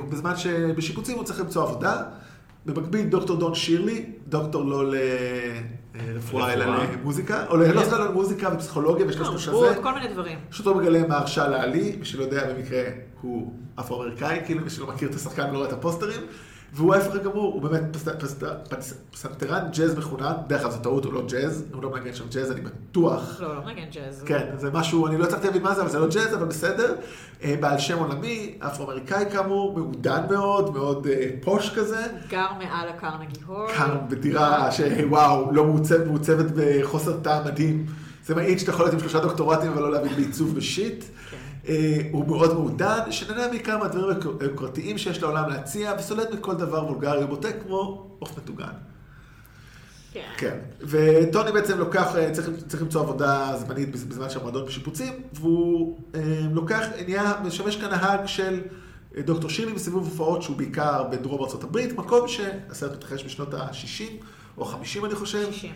S2: ובזמן שבשיפוצים הוא צריך למצוא עבודה. במקביל דוקטור דון שירלי, דוקטור לא לרפואה אלא
S4: רפואה.
S2: למוזיקה, או לא, לא סתם למוזיקה ופסיכולוגיה ושלושת
S3: תרבות,
S2: כזה.
S3: לא, כל מיני דברים.
S2: פשוט לא מגלה מה הרשע לעלי, מי שלא יודע במקרה הוא אפרו-אמריקאי, כאילו מי שלא מכיר את השחקן לא רואה את הפוסטרים, והוא ההפך הגמור, הוא באמת פסט- פסט- פסט- פסנתרן ג'אז מחונן, דרך אגב זו טעות, הוא לא ג'אז, הוא לא מנגן שם ג'אז, אני בטוח.
S3: לא, לא מנגן ג'אז.
S2: כן, זה משהו, אני לא הצלחתי להבין מה זה, אבל זה לא ג'אז, אבל בסדר. אה, בעל שם עולמי, אפרו-אמריקאי כאמור, מעודן מאוד, מאוד אה, פוש כזה.
S3: גר מעל הקרנגי הול.
S2: כאן בדירה שוואו, לא מעוצבת, מעוצבת בחוסר טעם מדהים. זה מעיד שאתה יכול להיות עם שלושה דוקטורטים ולא להבין בעיצוב בשיט. אה, הוא מאוד מעודן, שנהנה בעיקר מהדברים היוקר- היוקרתיים שיש לעולם להציע, וסולד מכל דבר וולגרי ובוטה כמו עוף מטוגן.
S3: כן.
S2: כן, וטוני בעצם לוקח, אה, צריך, צריך למצוא עבודה זמנית בז- בזמן שהמועדון בשיפוצים, והוא אה, לוקח, נהיה, משמש כנהג של אה, דוקטור שירלי בסיבוב הופעות שהוא בעיקר בדרום ארה"ב, מקום שהסרט מתרחש בשנות ה-60 או ה-50 אני חושב,
S3: 60.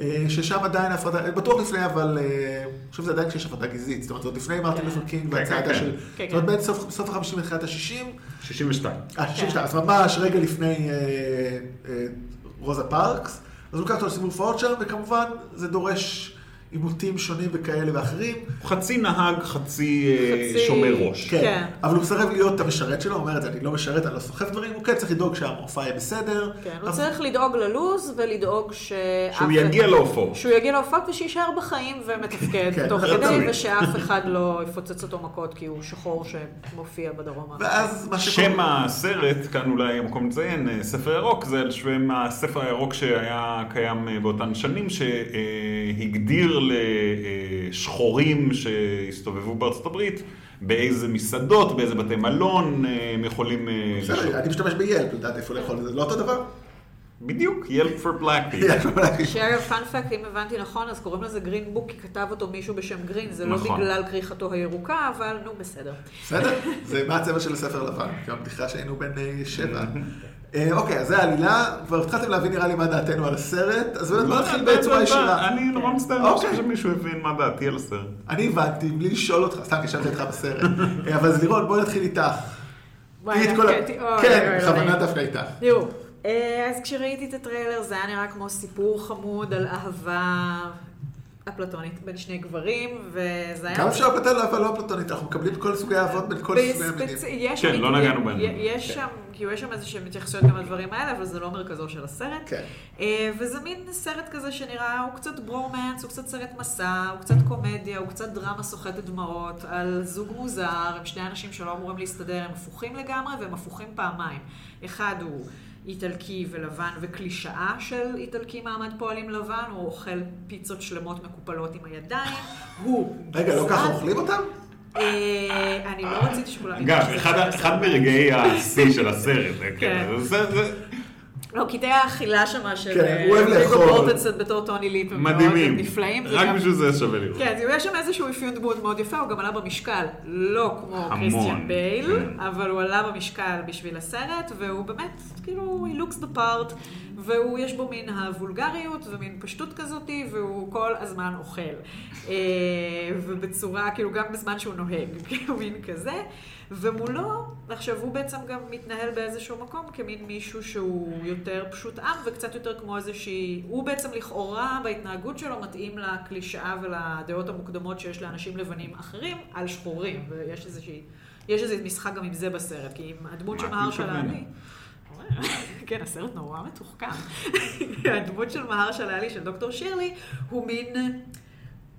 S2: אה, ששם עדיין ההפרדה, בטוח לפני, אבל אה, אני חושב שזה עדיין כשיש הפרדה גזעית, זאת אומרת, זה עוד לפני מרטין
S3: כן.
S2: לותר קינג
S4: כן, כן,
S2: והצעדה
S4: כן.
S2: של,
S3: כן,
S2: זאת אומרת,
S3: כן.
S2: בין סוף סוף ה-50 לתחילת ה-60,
S4: 62.
S2: אה, 62, אז ממש רגע לפני אה, אה, רוזה פארקס, אז הוא לוקח אותו לסיבוב הופעות שם, וכמובן זה דורש עימותים שונים וכאלה ואחרים.
S4: הוא חצי נהג, חצי אה,
S3: חצי-
S4: שומר ראש.
S2: כן.
S3: כן.
S2: אבל הוא מסרב להיות המשרת שלו, הוא אומר את זה, אני לא משרת, אני לא סוחף דברים, הוא כן צריך לדאוג שהמופע יהיה בסדר.
S3: כן, הוא
S2: אבל-
S3: צריך לדאוג ללוז ולדאוג ש...
S4: שהוא
S2: אוקיי.
S4: יגיע להופעות.
S3: שהוא יגיע להופעות ושיישאר בחיים
S2: כן,
S3: ומתפקד תוך
S2: זה
S3: כדי,
S4: תמיד.
S3: ושאף אחד לא יפוצץ אותו מכות כי הוא שחור שמופיע בדרום.
S2: ואז מה שקורה...
S4: שם הסרט, כאן אולי המקום לציין, אה, ספר ירוק, זה על שם הספר הירוק שהיה קיים אה, באותן שנים, שהגדיר לשחורים שהסתובבו בארצות הברית, באיזה מסעדות, באיזה בתי מלון אה, הם יכולים אה, לשאול.
S2: בסדר, אני משתמש ביילפ, לדעת איפה לאכול, זה לא אותו דבר?
S4: בדיוק, ילד for black people.
S2: כן,
S3: שאגב, פאנפקט, אם הבנתי נכון, אז קוראים לזה גרין בוק, כי כתב אותו מישהו בשם גרין, זה לא
S4: נכון.
S3: בגלל כריכתו הירוקה, אבל נו, בסדר.
S2: בסדר, זה מה הצבע של הספר לבן, גם בדיחה שהיינו בן אה, שבע. אה, אוקיי, אז זה העלילה, כבר התחלתם להבין נראה לי מה דעתנו על הסרט, אז
S4: לא,
S2: באמת בוא נתחיל לא בצורה ישירה.
S4: אני נורא מצטער, אני לא
S2: אוקיי.
S4: חושב שמישהו הבין מה דעתי על הסרט.
S2: אני הבנתי, בלי לשאול אותך, סתם כי ישבתי איתך בסרט. אה, אבל אז לירון, בואי נתחיל איתך.
S3: וואי,
S2: תהיי את כל ה-
S3: כן, אוי,
S2: כן,
S3: אוי,
S2: בכוונה
S3: אוי.
S2: דווקא איתך.
S3: תראו, אה, אז כשראיתי את הטריילר זה היה נראה כמו סיפור חמוד על אהבה אפלטונית בין שני גברים, וזה היה...
S2: כמה אפשר לבטל אהבה לא פלטונית, אנחנו מקבלים את כל סוגי האהבות בין כל סוגי המינים.
S3: בספצ- יש
S4: כן, לא
S3: מקרים-
S4: נגענו בהם.
S3: יש
S2: כן.
S3: שם, כאילו יש שם איזה שהן מתייחסויות גם לדברים האלה, אבל זה לא מרכזו של הסרט.
S2: כן.
S3: אה, וזה מין סרט כזה שנראה, הוא קצת ברומנס, הוא קצת סרט מסע, הוא קצת קומדיה, הוא קצת דרמה סוחטת דמעות, על זוג מוזר, הם שני אנשים שלא אמורים להסתדר, הם הפוכים לגמרי, והם הפוכים פעמיים. אחד הוא איטלקי ולבן וקלישאה של איטלקי מעמד פועלים לבן, הוא אוכל פיצות שלמות מקופלות עם הידיים, הוא
S2: רגע, לא
S3: גזען.
S2: ככה אוכלים אותם?
S3: אה, אני לא רציתי שכולם...
S4: אגב,
S3: ידעו שזה
S4: אחד
S3: סרט
S4: ה-
S3: מסע.
S4: אחד מרגעי השיא של הסרט. אה, כן.
S3: כן.
S4: זה- זה-
S3: לא, קטעי האכילה שמה של...
S2: כן, הוא אוהב לאכול.
S3: בורטנסון בתור טוני ליפ הם מאוד
S4: מדהימים.
S3: נפלאים. זה
S4: רק
S3: גם-
S4: בשביל זה שווה לראות.
S3: כן, אז יש שם איזשהו אפיון דמות מאוד יפה, הוא גם עלה במשקל, לא כמו
S4: המון,
S3: קריסטיאן בייל,
S4: כן.
S3: אבל הוא עלה במשקל בשביל הסרט, והוא באמת, כאילו, he looks the part, והוא, יש בו מין הוולגריות ומין פשטות כזאת, והוא כל הזמן אוכל. אה, ובצורה, כאילו, גם בזמן שהוא נוהג, כאילו, מין כזה. ומולו, עכשיו, הוא בעצם גם מתנהל באיזשהו מקום כמין מישהו שהוא יותר פשוט עם וקצת יותר כמו איזושהי... הוא בעצם לכאורה, בהתנהגות שלו, מתאים לקלישאה ולדעות המוקדמות שיש לאנשים לבנים אחרים על שחורים, ויש איזושהי... יש איזה משחק גם עם זה בסרט, כי אם הדמות
S4: מה
S3: של
S4: את
S3: מהר של
S4: מתכוונת?
S3: העלי... כן, הסרט נורא מתוחכם. הדמות של מהר של העלי, של דוקטור שירלי, הוא מין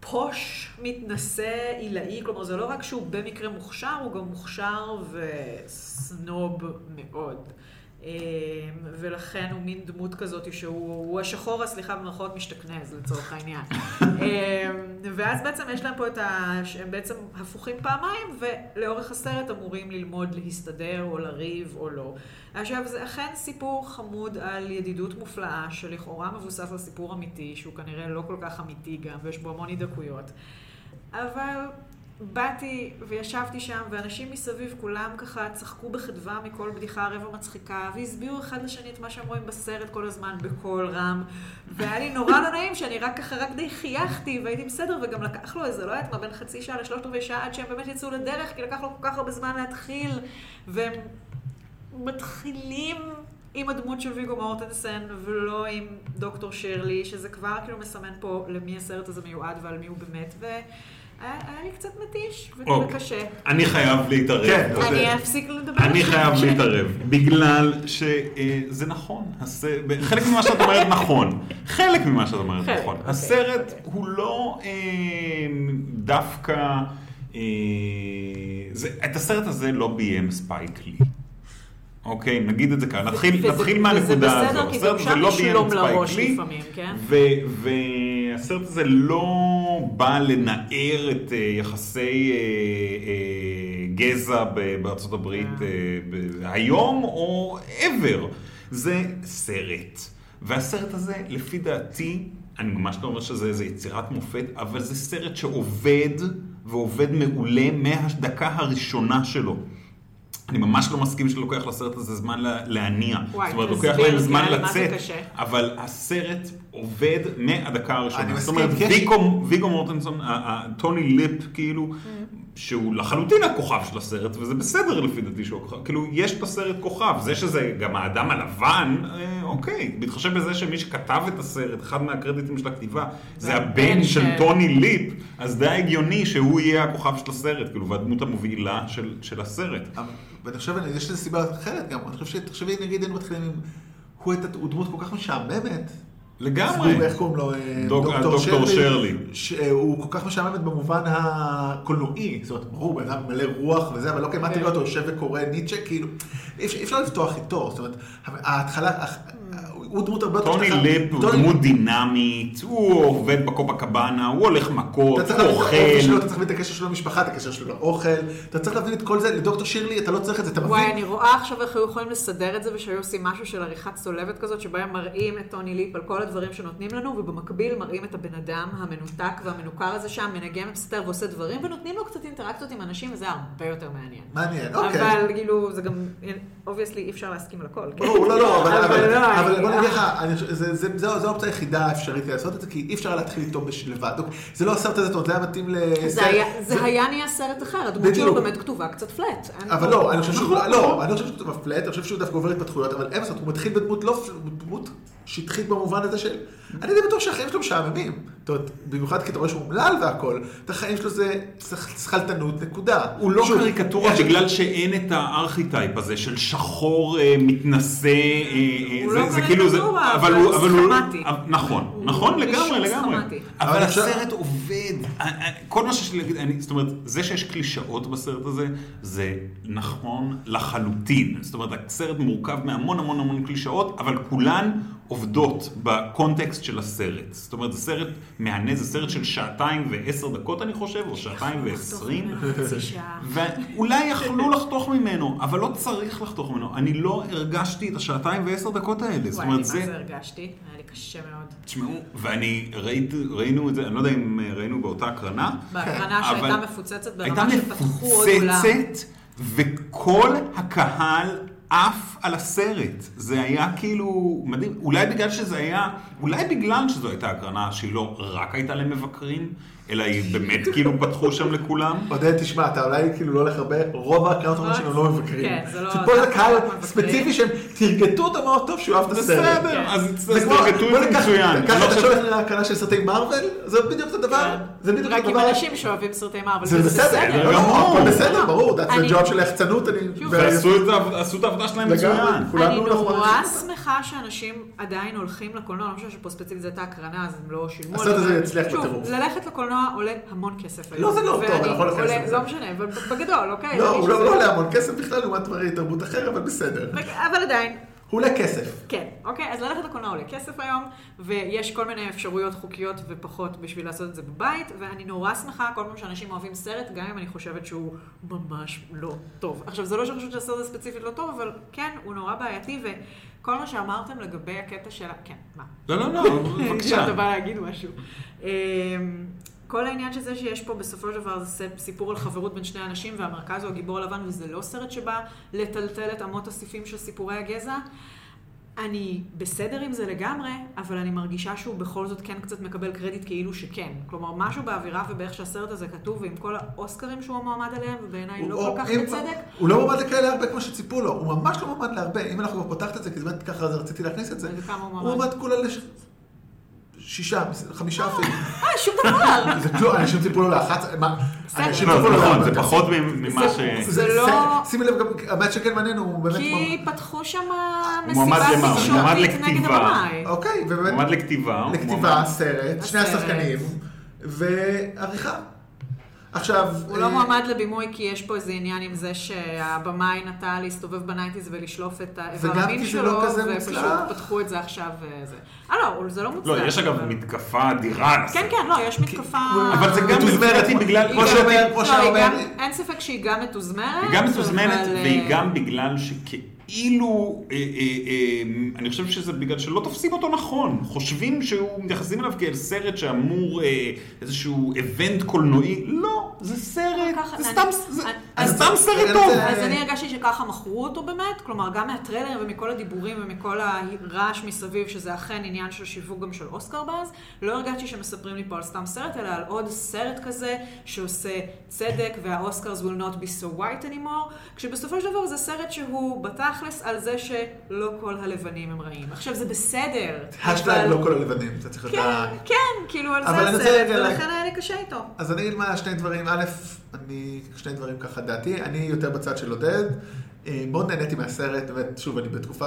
S3: פוש, מתנשא, עילאי, כלומר זה לא רק שהוא במקרה מוכשר, הוא גם מוכשר וסנוב מאוד. אמ, ולכן הוא מין דמות כזאת שהוא הוא השחור, הסליחה במרכאות, משתכנז לצורך העניין. אמ, ואז בעצם יש להם פה את ה... הם בעצם הפוכים פעמיים, ולאורך הסרט אמורים ללמוד להסתדר או לריב או לא. עכשיו, זה אכן סיפור חמוד על ידידות מופלאה, שלכאורה מבוסס על סיפור אמיתי, שהוא כנראה לא כל כך אמיתי גם, ויש בו המון הידקויות. אבל באתי וישבתי שם, ואנשים מסביב כולם ככה צחקו בחדווה מכל בדיחה רבע מצחיקה, והסבירו אחד לשני את מה שהם רואים בסרט כל הזמן בקול רם. והיה לי נורא לא נעים שאני רק ככה, רק די חייכתי, והייתי בסדר, וגם לקח לו איזה, לא יודעת מה, בין חצי שעה לשלושת רבעי שעה עד שהם באמת יצאו לדרך, כי לקח לו כל כך הרבה זמן להתחיל, והם מתחילים עם הדמות של ויגו מורטנסן ולא עם דוקטור שירלי, שזה כבר כאילו מסמן פה למי הסרט הזה מיועד ועל מי הוא באמת, והיה היה לי קצת מתיש
S4: אוקיי.
S3: וכאילו קשה.
S4: אני חייב להתערב.
S2: כן.
S3: אני אפסיק לדבר.
S4: אני
S3: על זה. כן.
S4: חייב להתערב, בגלל שזה נכון, הס- חלק ממה שאת אומרת נכון, חלק ממה שאת אומרת
S3: חלק,
S4: נכון.
S3: אוקיי.
S4: הסרט הוא לא אה, דווקא, אה, זה- את הסרט הזה לא ביים ספייק לי. אוקיי, נגיד את זה כאן, נתחיל
S3: וזה-
S4: נתחיל
S3: וזה
S4: מהנקודה
S3: בסדר,
S4: הזאת.
S3: כי
S4: הסרט
S3: גם
S4: הזה
S3: שם
S4: לא
S3: יש
S4: ביים
S3: שלום
S4: את ספייק
S3: לראש
S4: לי,
S3: לפעמים, כן?
S4: ו- והסרט הזה לא בא לנער את אה, יחסי אה, אה, גזע ב- בארצות אה, הברית אה, ב- היום או ever. זה סרט. והסרט הזה, לפי דעתי, אני ממש לא אומר שזה איזה יצירת מופת, אבל זה סרט שעובד, ועובד מעולה מהדקה הראשונה שלו. אני ממש לא מסכים שלוקח לסרט הזה זמן לה- להניע.
S3: וואי,
S4: זאת אומרת,
S3: תסביר,
S4: לוקח להם זמן
S3: יאללה, מה זה
S4: לצאת,
S3: קשה?
S4: אבל הסרט עובד מהדקה הראשונה.
S2: אני
S4: זאת
S2: מסכים,
S4: אומרת,
S2: כן.
S4: ויגו, ויגו מורטנסון, ה- ה- טוני ליפ, כאילו, שהוא לחלוטין הכוכב של הסרט, וזה בסדר לפי דעתי שהוא הכוכב. כאילו, יש בסרט כוכב, זה שזה גם האדם הלבן, אה, אוקיי. בהתחשב בזה שמי שכתב את הסרט, אחד מהקרדיטים של הכתיבה, זה הבן של
S3: של-
S4: טוני ליפ, אז די הגיוני שהוא יהיה הכוכב של הסרט, כאילו, והדמות המובילה של- של הסרט.
S2: ואני חושב, יש לזה סיבה אחרת גם, אני חושב שתחשבי נגיד היינו מתחילים עם, הוא הייתה- הוא דמות כל כך משעממת.
S4: לגמרי.
S2: אז הוא, איך קוראים לו? אה,
S4: דוק- הדוקטור שרלי.
S2: שהוא אה, כל כך משעממת במובן הקולנועי, זאת אומרת, ברור, בן אדם מלא רוח וזה, אבל לא כמעט
S3: כן.
S2: תראה אותו יושב וקורא ניטשה, כאילו, אי אפשר- אי אפשר לפתוח איתו, זאת אומרת, ההתחלה, הח- הוא דמות הרבה יותר...
S4: טוני
S2: שלך.
S4: ליפ הוא
S2: טוני-
S4: דמות דינמית, הוא עובד בקופה קבאנה, הוא הולך מכות,
S2: אתה צריך
S4: הוא
S2: להבין את האופי שלו, אתה
S4: אוכל.
S2: צריך להבין את הקשר שלו למשפחה, את הקשר שלו לאוכל, אתה צריך להבין את כל זה, לדוקטור שירלי אתה לא צריך את זה, אתה
S3: וואי,
S2: מבין?
S3: אני רואה עכשיו איך היו יכולים לסדר את זה ושהיו עושים משהו של עריכת צולבת כזאת, שבה הם מראים את טוני ליפ על כל הדברים שנותנים לנו, ובמקביל מראים את הבן אדם המנותק והמנוכר הזה שם, מנגן ומסתתר ועושה דברים, ונותנים לו קצת אינטראקציות עם אנשים, וזה הרבה יותר מעניין.
S2: מעניין, אוקיי.
S3: אבל כאילו, זה גם, אובייסלי אי אפשר להסכים על הכל. כן?
S2: ברור, לא, לא, אבל- אבל
S3: לא,
S2: אבל
S3: אני-
S2: בוא נגיד לך, אני חושב- זה- זה- זה- זו האופציה היחידה האפשרית לעשות את זה, כי אי אפשר להתחיל איתו בש- לבד. זה לא הסרט הזה, זאת אומרת, זה היה מתאים לסרט.
S3: זה היה- זה היה נהיה סרט אחר, הדמות
S2: בדיוק.
S3: שלו באמת כתובה קצת פלט.
S2: אבל לא, אני חושב שהוא,
S3: נכון.
S2: לא, אני לא חושב שהוא מפלט, אני חושב שהוא דווקא עובר התפתחויות, אבל אין מה לעשות, הוא מתחיל בדמות לא, דמות שטחית במובן הזה של, אני די בטוח שהחיים שלו משעממים. זאת אומרת, במיוחד כי אתה רואה שהוא אומלל והכל, את החיים שלו זה שח- שכלתנות, נקודה.
S4: הוא לא
S2: שוב,
S4: קריקטורה
S2: איך-
S4: בגלל שאין את הארכיטייפ הזה של שחור אה, מתנשא, אה, אה,
S3: הוא
S4: זה-
S3: לא
S4: זה כאילו זה,
S3: קריקטורה,
S4: אבל
S3: אבל
S4: הוא, אבל הוא,
S3: סכמטי.
S4: אבל- נכון, נכון
S3: הוא
S4: לגמרי,
S3: אישור
S4: לגמרי,
S3: סכמטי.
S4: אבל
S2: אבל עכשיו-
S4: הסרט עובד, אה, אה, כל מה שיש לי להגיד, אני- זאת אומרת, זה שיש קלישאות בסרט הזה, זה נכון לחלוטין, זאת אומרת, הסרט מורכב מהמון המון המון קלישאות, אבל כולן עובדות בקונטקסט של הסרט, זאת אומרת, זה סרט מהנה, זה סרט של שעתיים ועשר דקות, אני חושב, או שעתיים ועשרים.
S3: חצי שעה.
S4: ואולי יכלו לחתוך ממנו, אבל לא צריך לחתוך ממנו. אני לא הרגשתי את השעתיים ועשר דקות האלה. זאת
S3: וואי, אני מה
S4: אומרת,
S3: זה
S4: זה...
S3: הרגשתי? היה לי קשה מאוד.
S4: תשמעו, ואני ראיתי, ראינו את זה, אני לא יודע אם אה, ראינו באותה הקרנה.
S3: בהקרנה
S4: אבל-
S3: שהייתה מפוצצת
S4: הייתה
S3: ברמה לא, שפתחו עוד אולם.
S4: מפוצצת, וכל הקהל עף על הסרט. זה היה כאילו מדהים. אולי בגלל שזה היה, אולי בגלל שזו הייתה הקרנה שהיא לא רק הייתה למבקרים, אלא היא באמת כאילו פתחו שם לכולם.
S2: עודד, תשמע, אתה אולי כאילו לא הולך הרבה, רוב ההקרנות אומרים שהם לא מבקרים.
S3: כן, זה לא-
S2: זה פה
S3: זה
S2: זה קהל
S3: לא מבקרים.
S2: ספציפי שהם תרגטו אותו מאוד טוב שהוא אהב את הסרט.
S4: בסדר,
S3: כן.
S4: אז
S2: זה כמו-
S4: תרגטו
S2: בוא
S4: את זה
S2: ניקח-
S4: מצוין. אני
S2: ככה
S4: לא
S2: אתה
S4: חושב-
S2: שולח להקרנה של סרטי מרוויל, זה בדיוק אותו דבר. זה בדיוק
S3: כן. רק
S2: אותו
S3: עם
S2: דבר.
S3: אנשים שאוהבים סרטי מרוויל.
S2: זה בסדר, לא, לא,
S4: גמור.
S2: הכל בסדר, ברור, that's
S3: אני-
S2: the job של היחצנות, אני...
S3: שוב,
S2: ו-
S4: ועשו את ה- עשו את העבודה שלהם
S2: לגמרי.
S4: מצוין.
S2: כולנו
S3: אני
S2: אנחנו
S3: נורא
S2: אנשים-
S3: שמחה שאנשים עדיין הולכים לקולנוע, לא משנה שפה ספציפית זו הייתה הקרנה, אז הם לא שילמו.
S2: הסרט
S3: על זה.
S2: הזה יצליח
S3: שוב,
S2: בטירוף.
S3: ללכת לקולנוע עולה המון כסף היום.
S2: לא, זה לא טוב,
S3: ואני-
S2: אני יכול להיכנס
S3: עולה-
S2: לזה.
S3: לא משנה, אבל בגדול, אוקיי?
S2: לא,
S3: אני
S2: הוא לא
S3: שזה-
S2: לא עולה המון כסף בכלל לעומת דברי תרבות אחר, אבל בסדר.
S3: אבל עדיין,
S2: הוא עולה כסף.
S3: כן, אוקיי, אז ללכת לקולנוע עולה כסף היום, ויש כל מיני אפשרויות חוקיות ופחות בשביל לעשות את זה בבית, ואני נורא שמחה כל פעם שאנשים אוהבים סרט, גם אם אני חושבת שהוא ממש לא טוב. עכשיו, זה לא שאני חושבת שהסרט הזה ספציפית לא טוב, אבל כן, הוא נורא בעייתי, וכל מה שאמרתם לגבי הקטע של... ה- כן, מה?
S4: לא, לא, לא, בבקשה.
S3: אתה בא להגיד משהו. אמ, כל העניין של זה שיש פה בסופו של דבר זה סט- סיפור על חברות בין שני אנשים והמרכז הוא הגיבור הלבן וזה לא סרט שבא לטלטל את אמות הסיפים של סיפורי הגזע. אני בסדר עם זה לגמרי, אבל אני מרגישה שהוא בכל זאת כן קצת מקבל קרדיט כאילו שכן. כלומר, משהו באווירה ובאיך שהסרט הזה כתוב ועם כל האוסקרים שהוא המועמד עליהם, ובעיניי לא
S2: הוא-
S3: כל כך
S2: אם-
S3: בצדק.
S2: הוא לא מועמד לכאלה הרבה כמו שציפו לו, הוא ממש לא מועמד להרבה, אם אנחנו כבר פותחת את זה, כי באמת ככה אז רציתי להכניס את זה.
S3: וכמה הוא
S2: הוא
S3: מועמד?
S2: מועמד כולה לש... שישה, חמישה אפילו.
S3: אה, שום דבר!
S2: זה כלום, אנשים ציפו לו לאחת, מה?
S3: בסדר.
S2: אנשים
S4: לא,
S2: ציפו
S4: זה
S2: לו
S4: נכון,
S2: לאחת.
S4: זה פחות ממ- ממה ש...
S3: זה-
S2: זה-
S3: זה לא-
S2: שימי לב גם, הבעיה שכן מעניין הוא באמת...
S3: כי
S2: מועמד-
S3: פתחו שם
S4: מועמד
S3: מסיבה
S4: למה? הוא מועמד
S3: תקשורתית נגד
S4: לכתיבה.
S3: הבמאי.
S2: אוקיי,
S4: הוא
S2: ובאמת...
S4: מועמד לכתיבה. הוא
S2: לכתיבה,
S4: מועמד-
S2: סרט, שני
S3: הסרט.
S2: השחקנים, ועריכה. עכשיו...
S3: הוא
S2: אה,
S3: לא מועמד לבימוי כי יש פה איזה עניין עם זה שהבמאי נטה להסתובב בנייטיז ולשלוף את האיבר
S2: וגם
S3: המין
S2: כי זה
S3: שלו,
S2: לא כזה
S3: ופשוט
S2: מוצלח.
S3: פתחו את זה עכשיו. אה, זה. אה לא, זה לא מוצלח.
S4: לא, יש אגב
S3: אבל-
S4: מתקפה אדירה. על
S3: כן,
S4: הסרט.
S3: כן, לא, יש מתקפה...
S4: אבל זה גם
S2: מתוזמרת,
S4: מתוזמרת בגלל...
S2: כמו
S4: היא גם-
S2: שאומר-
S3: לא,
S2: כמו שאומר-
S3: היא גם- אין ספק שהיא גם מתוזמרת.
S4: היא גם מתוזמנת,
S3: אבל, אה,
S4: והיא גם בגלל שכאילו... כאילו, אה, אה, אה, אני חושב שזה בגלל שלא תופסים אותו נכון. חושבים שהוא, מתייחסים אליו כאל סרט שאמור אה, איזשהו איבנט קולנועי. לא, זה סרט,
S3: ככה,
S4: זה
S3: אני-
S4: סתם, זה-
S3: אני-
S4: זה
S3: אז-
S4: סתם סרט טוב.
S2: אה,
S3: אז אני הרגשתי שככה מכרו אותו באמת, כלומר גם מהטריילר ומכל הדיבורים ומכל הרעש מסביב, שזה אכן עניין של שיווק גם של אוסקר באז, לא הרגשתי שמספרים לי פה על סתם סרט, אלא על עוד סרט כזה שעושה צדק והאוסקרס will not be so white anymore, כשבסופו של דבר זה סרט שהוא בתכלס על זה שלא כל הלבנים הם רעים. עכשיו זה בסדר.
S2: השטג
S3: אבל-
S2: לא כל הלבנים, אתה צריך לדעת.
S3: כן, כן, כאילו על
S2: אבל
S3: זה
S2: אני רוצה
S3: הסרט,
S2: רגע לה-
S3: ולכן היה לי קשה איתו.
S2: אז אני אגיד מה, שני דברים, א', אני, שני דברים ככה דעתי, אני יותר בצד של עודד, אה, מאוד נהניתי מהסרט, באמת, שוב, אני בתקופה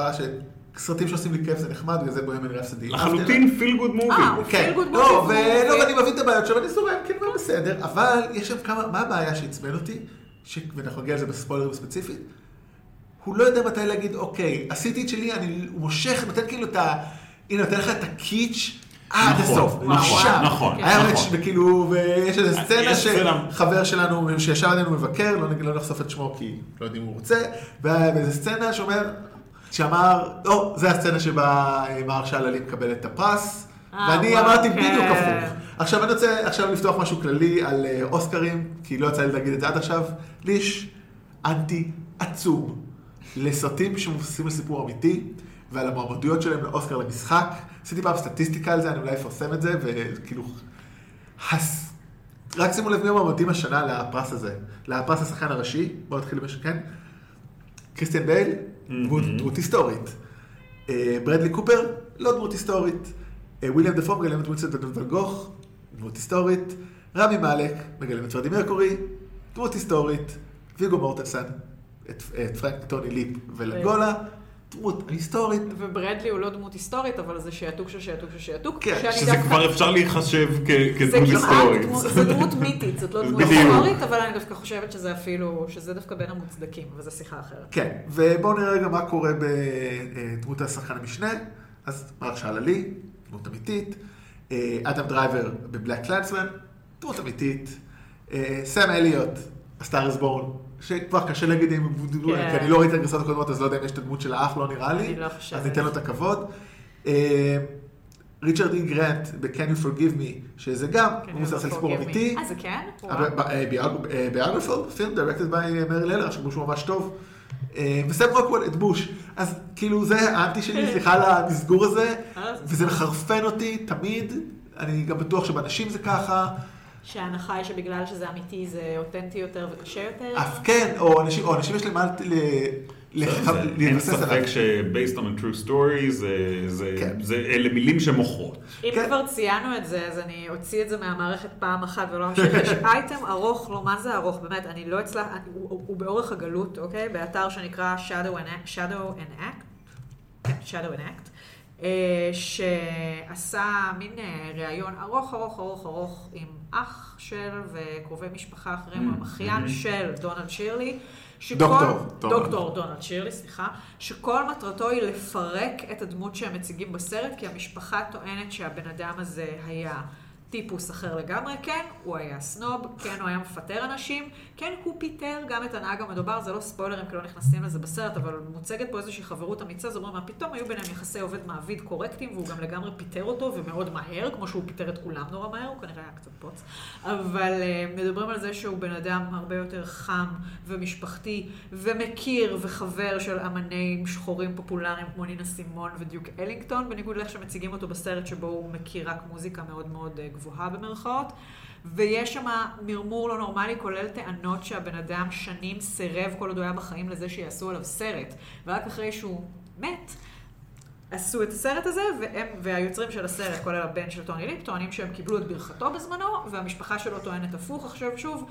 S2: שסרטים שעושים לי כיף זה נחמד, בגלל זה בוהמן רפסדי.
S4: לחלוטין פיל גוד מובי.
S3: אה,
S2: כן,
S3: Feel good
S2: לא,
S3: movie,
S2: ולא,
S3: movie.
S2: ואני מבין את הבעיות שלו, ואני זורם, כן, אבל בסדר, אבל יש שם כמה, מה הבעיה שעצבן אותי, ש- ואנחנו נגיע לזה בספוילרים ספציפית, הוא לא יודע מתי להגיד, אוקיי, עשיתי את שלי, אני, הוא מושך, נותן כאילו את ה... הנה, נותן לך את הקיץ' עד
S4: נכון,
S2: הסוף,
S4: נכון,
S2: עכשיו.
S4: נכון,
S2: היה
S4: נכון.
S2: באמת, ש- וכאילו, ויש איזו
S4: אז
S2: סצנה
S4: יש סצנה-
S2: שחבר שלנו, שישב עלינו מבקר, לא נגיד- לא נחשוף את שמו כי לא יודעים אם הוא רוצה, והיה באיזו סצנה שאומר, שאמר, או, זו הסצנה שבה אה, מהרשל עלי מקבל את הפרס,
S3: אה,
S2: ואני
S3: וואו,
S2: אמרתי
S3: כן.
S2: בדיוק הפוך. עכשיו אני רוצה עכשיו לפתוח משהו כללי על אה, אוסקרים, כי לא יצא לי להגיד את זה עד עכשיו. לי יש אנטי עצום לסרטים שמבוססים על סיפור אמיתי ועל המועמדויות שלהם לאוסקר למשחק. עשיתי פעם סטטיסטיקה על זה, אני אולי אפרסם את זה, וכאילו... הס... רק שימו לב מי המועמדים השנה לפרס הזה, לפרס השחקן הראשי, בואו נתחיל במה שכן. קריסטיאן בייל, דמות דמות היסטורית. אה, ברדלי קופר, לא דמות היסטורית. אה, וויליאם דפו מגלם את ווינסטון דוד ון גוך, דמות היסטורית. רמי מאלק מגלם את ורדי מרקורי, דמות היסטורית. ויגו מורטנסן, את את פרנק טוני ליפ ולגולה, דמות היסטורית.
S3: וברדלי הוא לא דמות היסטורית, אבל זה שעתוק של שעתוק של שעתוק.
S2: כן,
S3: שאני
S4: שזה
S3: דווקא-
S4: כבר אפשר להיחשב כ-
S3: זה
S4: כדמות
S3: כמעט,
S4: היסטורית.
S3: דמות- זה דמות מיתית, זאת לא דמות
S4: בדיוק.
S3: היסטורית, אבל אני דווקא חושבת שזה אפילו, שזה דווקא בין המוצדקים, אבל זו שיחה אחרת.
S2: כן, ובואו נראה רגע מה קורה בדמות השחקן המשנה. אז מרשל עלי, דמות אמיתית. אה, אדם דרייבר בבלק קלנסמן, דמות אמיתית. אה, סם אליוט, הסטאר is born, שכבר קשה להגיד אם הוא...
S3: כן.
S2: כי אני לא ראיתי את הגרסות הקודמות, אז לא יודע אם יש את הדמות של האח, לא נראה לי.
S3: אני לא חושבת.
S2: אז ניתן לו את הכבוד. אה, ריצ'רד אי גרנט ב-Can you forgive me, שזה גם
S3: כן,
S2: מבוסס על
S3: זה
S2: סיפור
S3: forgive me.
S2: אמיתי.
S3: אה, זה כן? וואו.
S2: אה, ביאגרפלד, פילם דירקטד ביי אה, מרי ללר, שהוא שהוא ממש טוב. אה, וסם רוקוול את בוש. אז כאילו זה האנטי שלי, סליחה על המסגור הזה,
S3: כן. אה.
S2: וזה מחרפן אותי תמיד, אני גם בטוח שבאנשים זה ככה,
S3: שההנחה היא שבגלל שזה אמיתי זה אותנטי יותר וקשה יותר?
S2: אף כן, או אנשים או אנשים יש להם מה ל- לח-
S4: לא, זה- אין
S2: להתבסס
S4: ספק
S2: עליו.
S4: ש-based on a true story זה- זה-
S2: כן.
S4: זה- אלה מילים שמוכרות.
S3: אם
S2: כן.
S3: כבר ציינו את זה, אז אני אוציא את זה מהמערכת פעם אחת ולא אמשיך. יש אייטם ארוך, לא, מה זה ארוך? באמת, אני לא אצלח, אני- הוא- הוא הוא באורך הגלות, אוקיי? באתר שנקרא Shadow and Act- Shadow and Act, כן, Shadow and Act, אה, שעשה מין אה, ראיון ארוך, ארוך, ארוך, ארוך עם אח של וקרובי משפחה אחרים, הוא
S4: Mm,
S3: המחיין
S4: mm.
S3: של דונלד שירלי. שכל-
S2: דוקטור, דונלד.
S3: דוקטור. דוקטור דונלד שירלי, סליחה, שכל מטרתו היא לפרק את הדמות שהם מציגים בסרט, כי המשפחה טוענת שהבן אדם הזה היה טיפוס אחר לגמרי. כן, הוא היה סנוב, כן, הוא היה מפטר אנשים, כן, הוא פיטר גם את הנהג המדובר, זה לא ספוילרים, כי לא נכנסים לזה בסרט, אבל מוצגת פה איזושהי חברות אמיצה, זה אומר מה פתאום, היו ביניהם יחסי עובד-מעביד קורקטים, והוא גם לגמרי פיטר אותו, ומאוד מהר, כמו שהוא פיטר את כולם נורא מהר, הוא כנראה היה קצת פוץ. אבל אה, מדברים על זה שהוא בן אדם הרבה יותר חם ומשפחתי ומכיר וחבר של אמנים שחורים פופולריים כמו נינה סימון ודיוק אלינגטון, בניגוד לאיך שמציגים אותו בסרט שבו הוא מכיר רק מוזיקה מאוד מאוד אה, גבוהה במרכאות. ויש שם מרמור לא נורמלי, כולל טענות שהבן אדם שנים סירב כל עוד הוא היה בחיים לזה שיעשו עליו סרט. ורק אחרי שהוא מת, עשו את הסרט הזה, והם, והיוצרים של הסרט, כולל הבן של טוני ליפ, טוענים שהם קיבלו את ברכתו בזמנו, והמשפחה שלו טוענת הפוך. עכשיו שוב,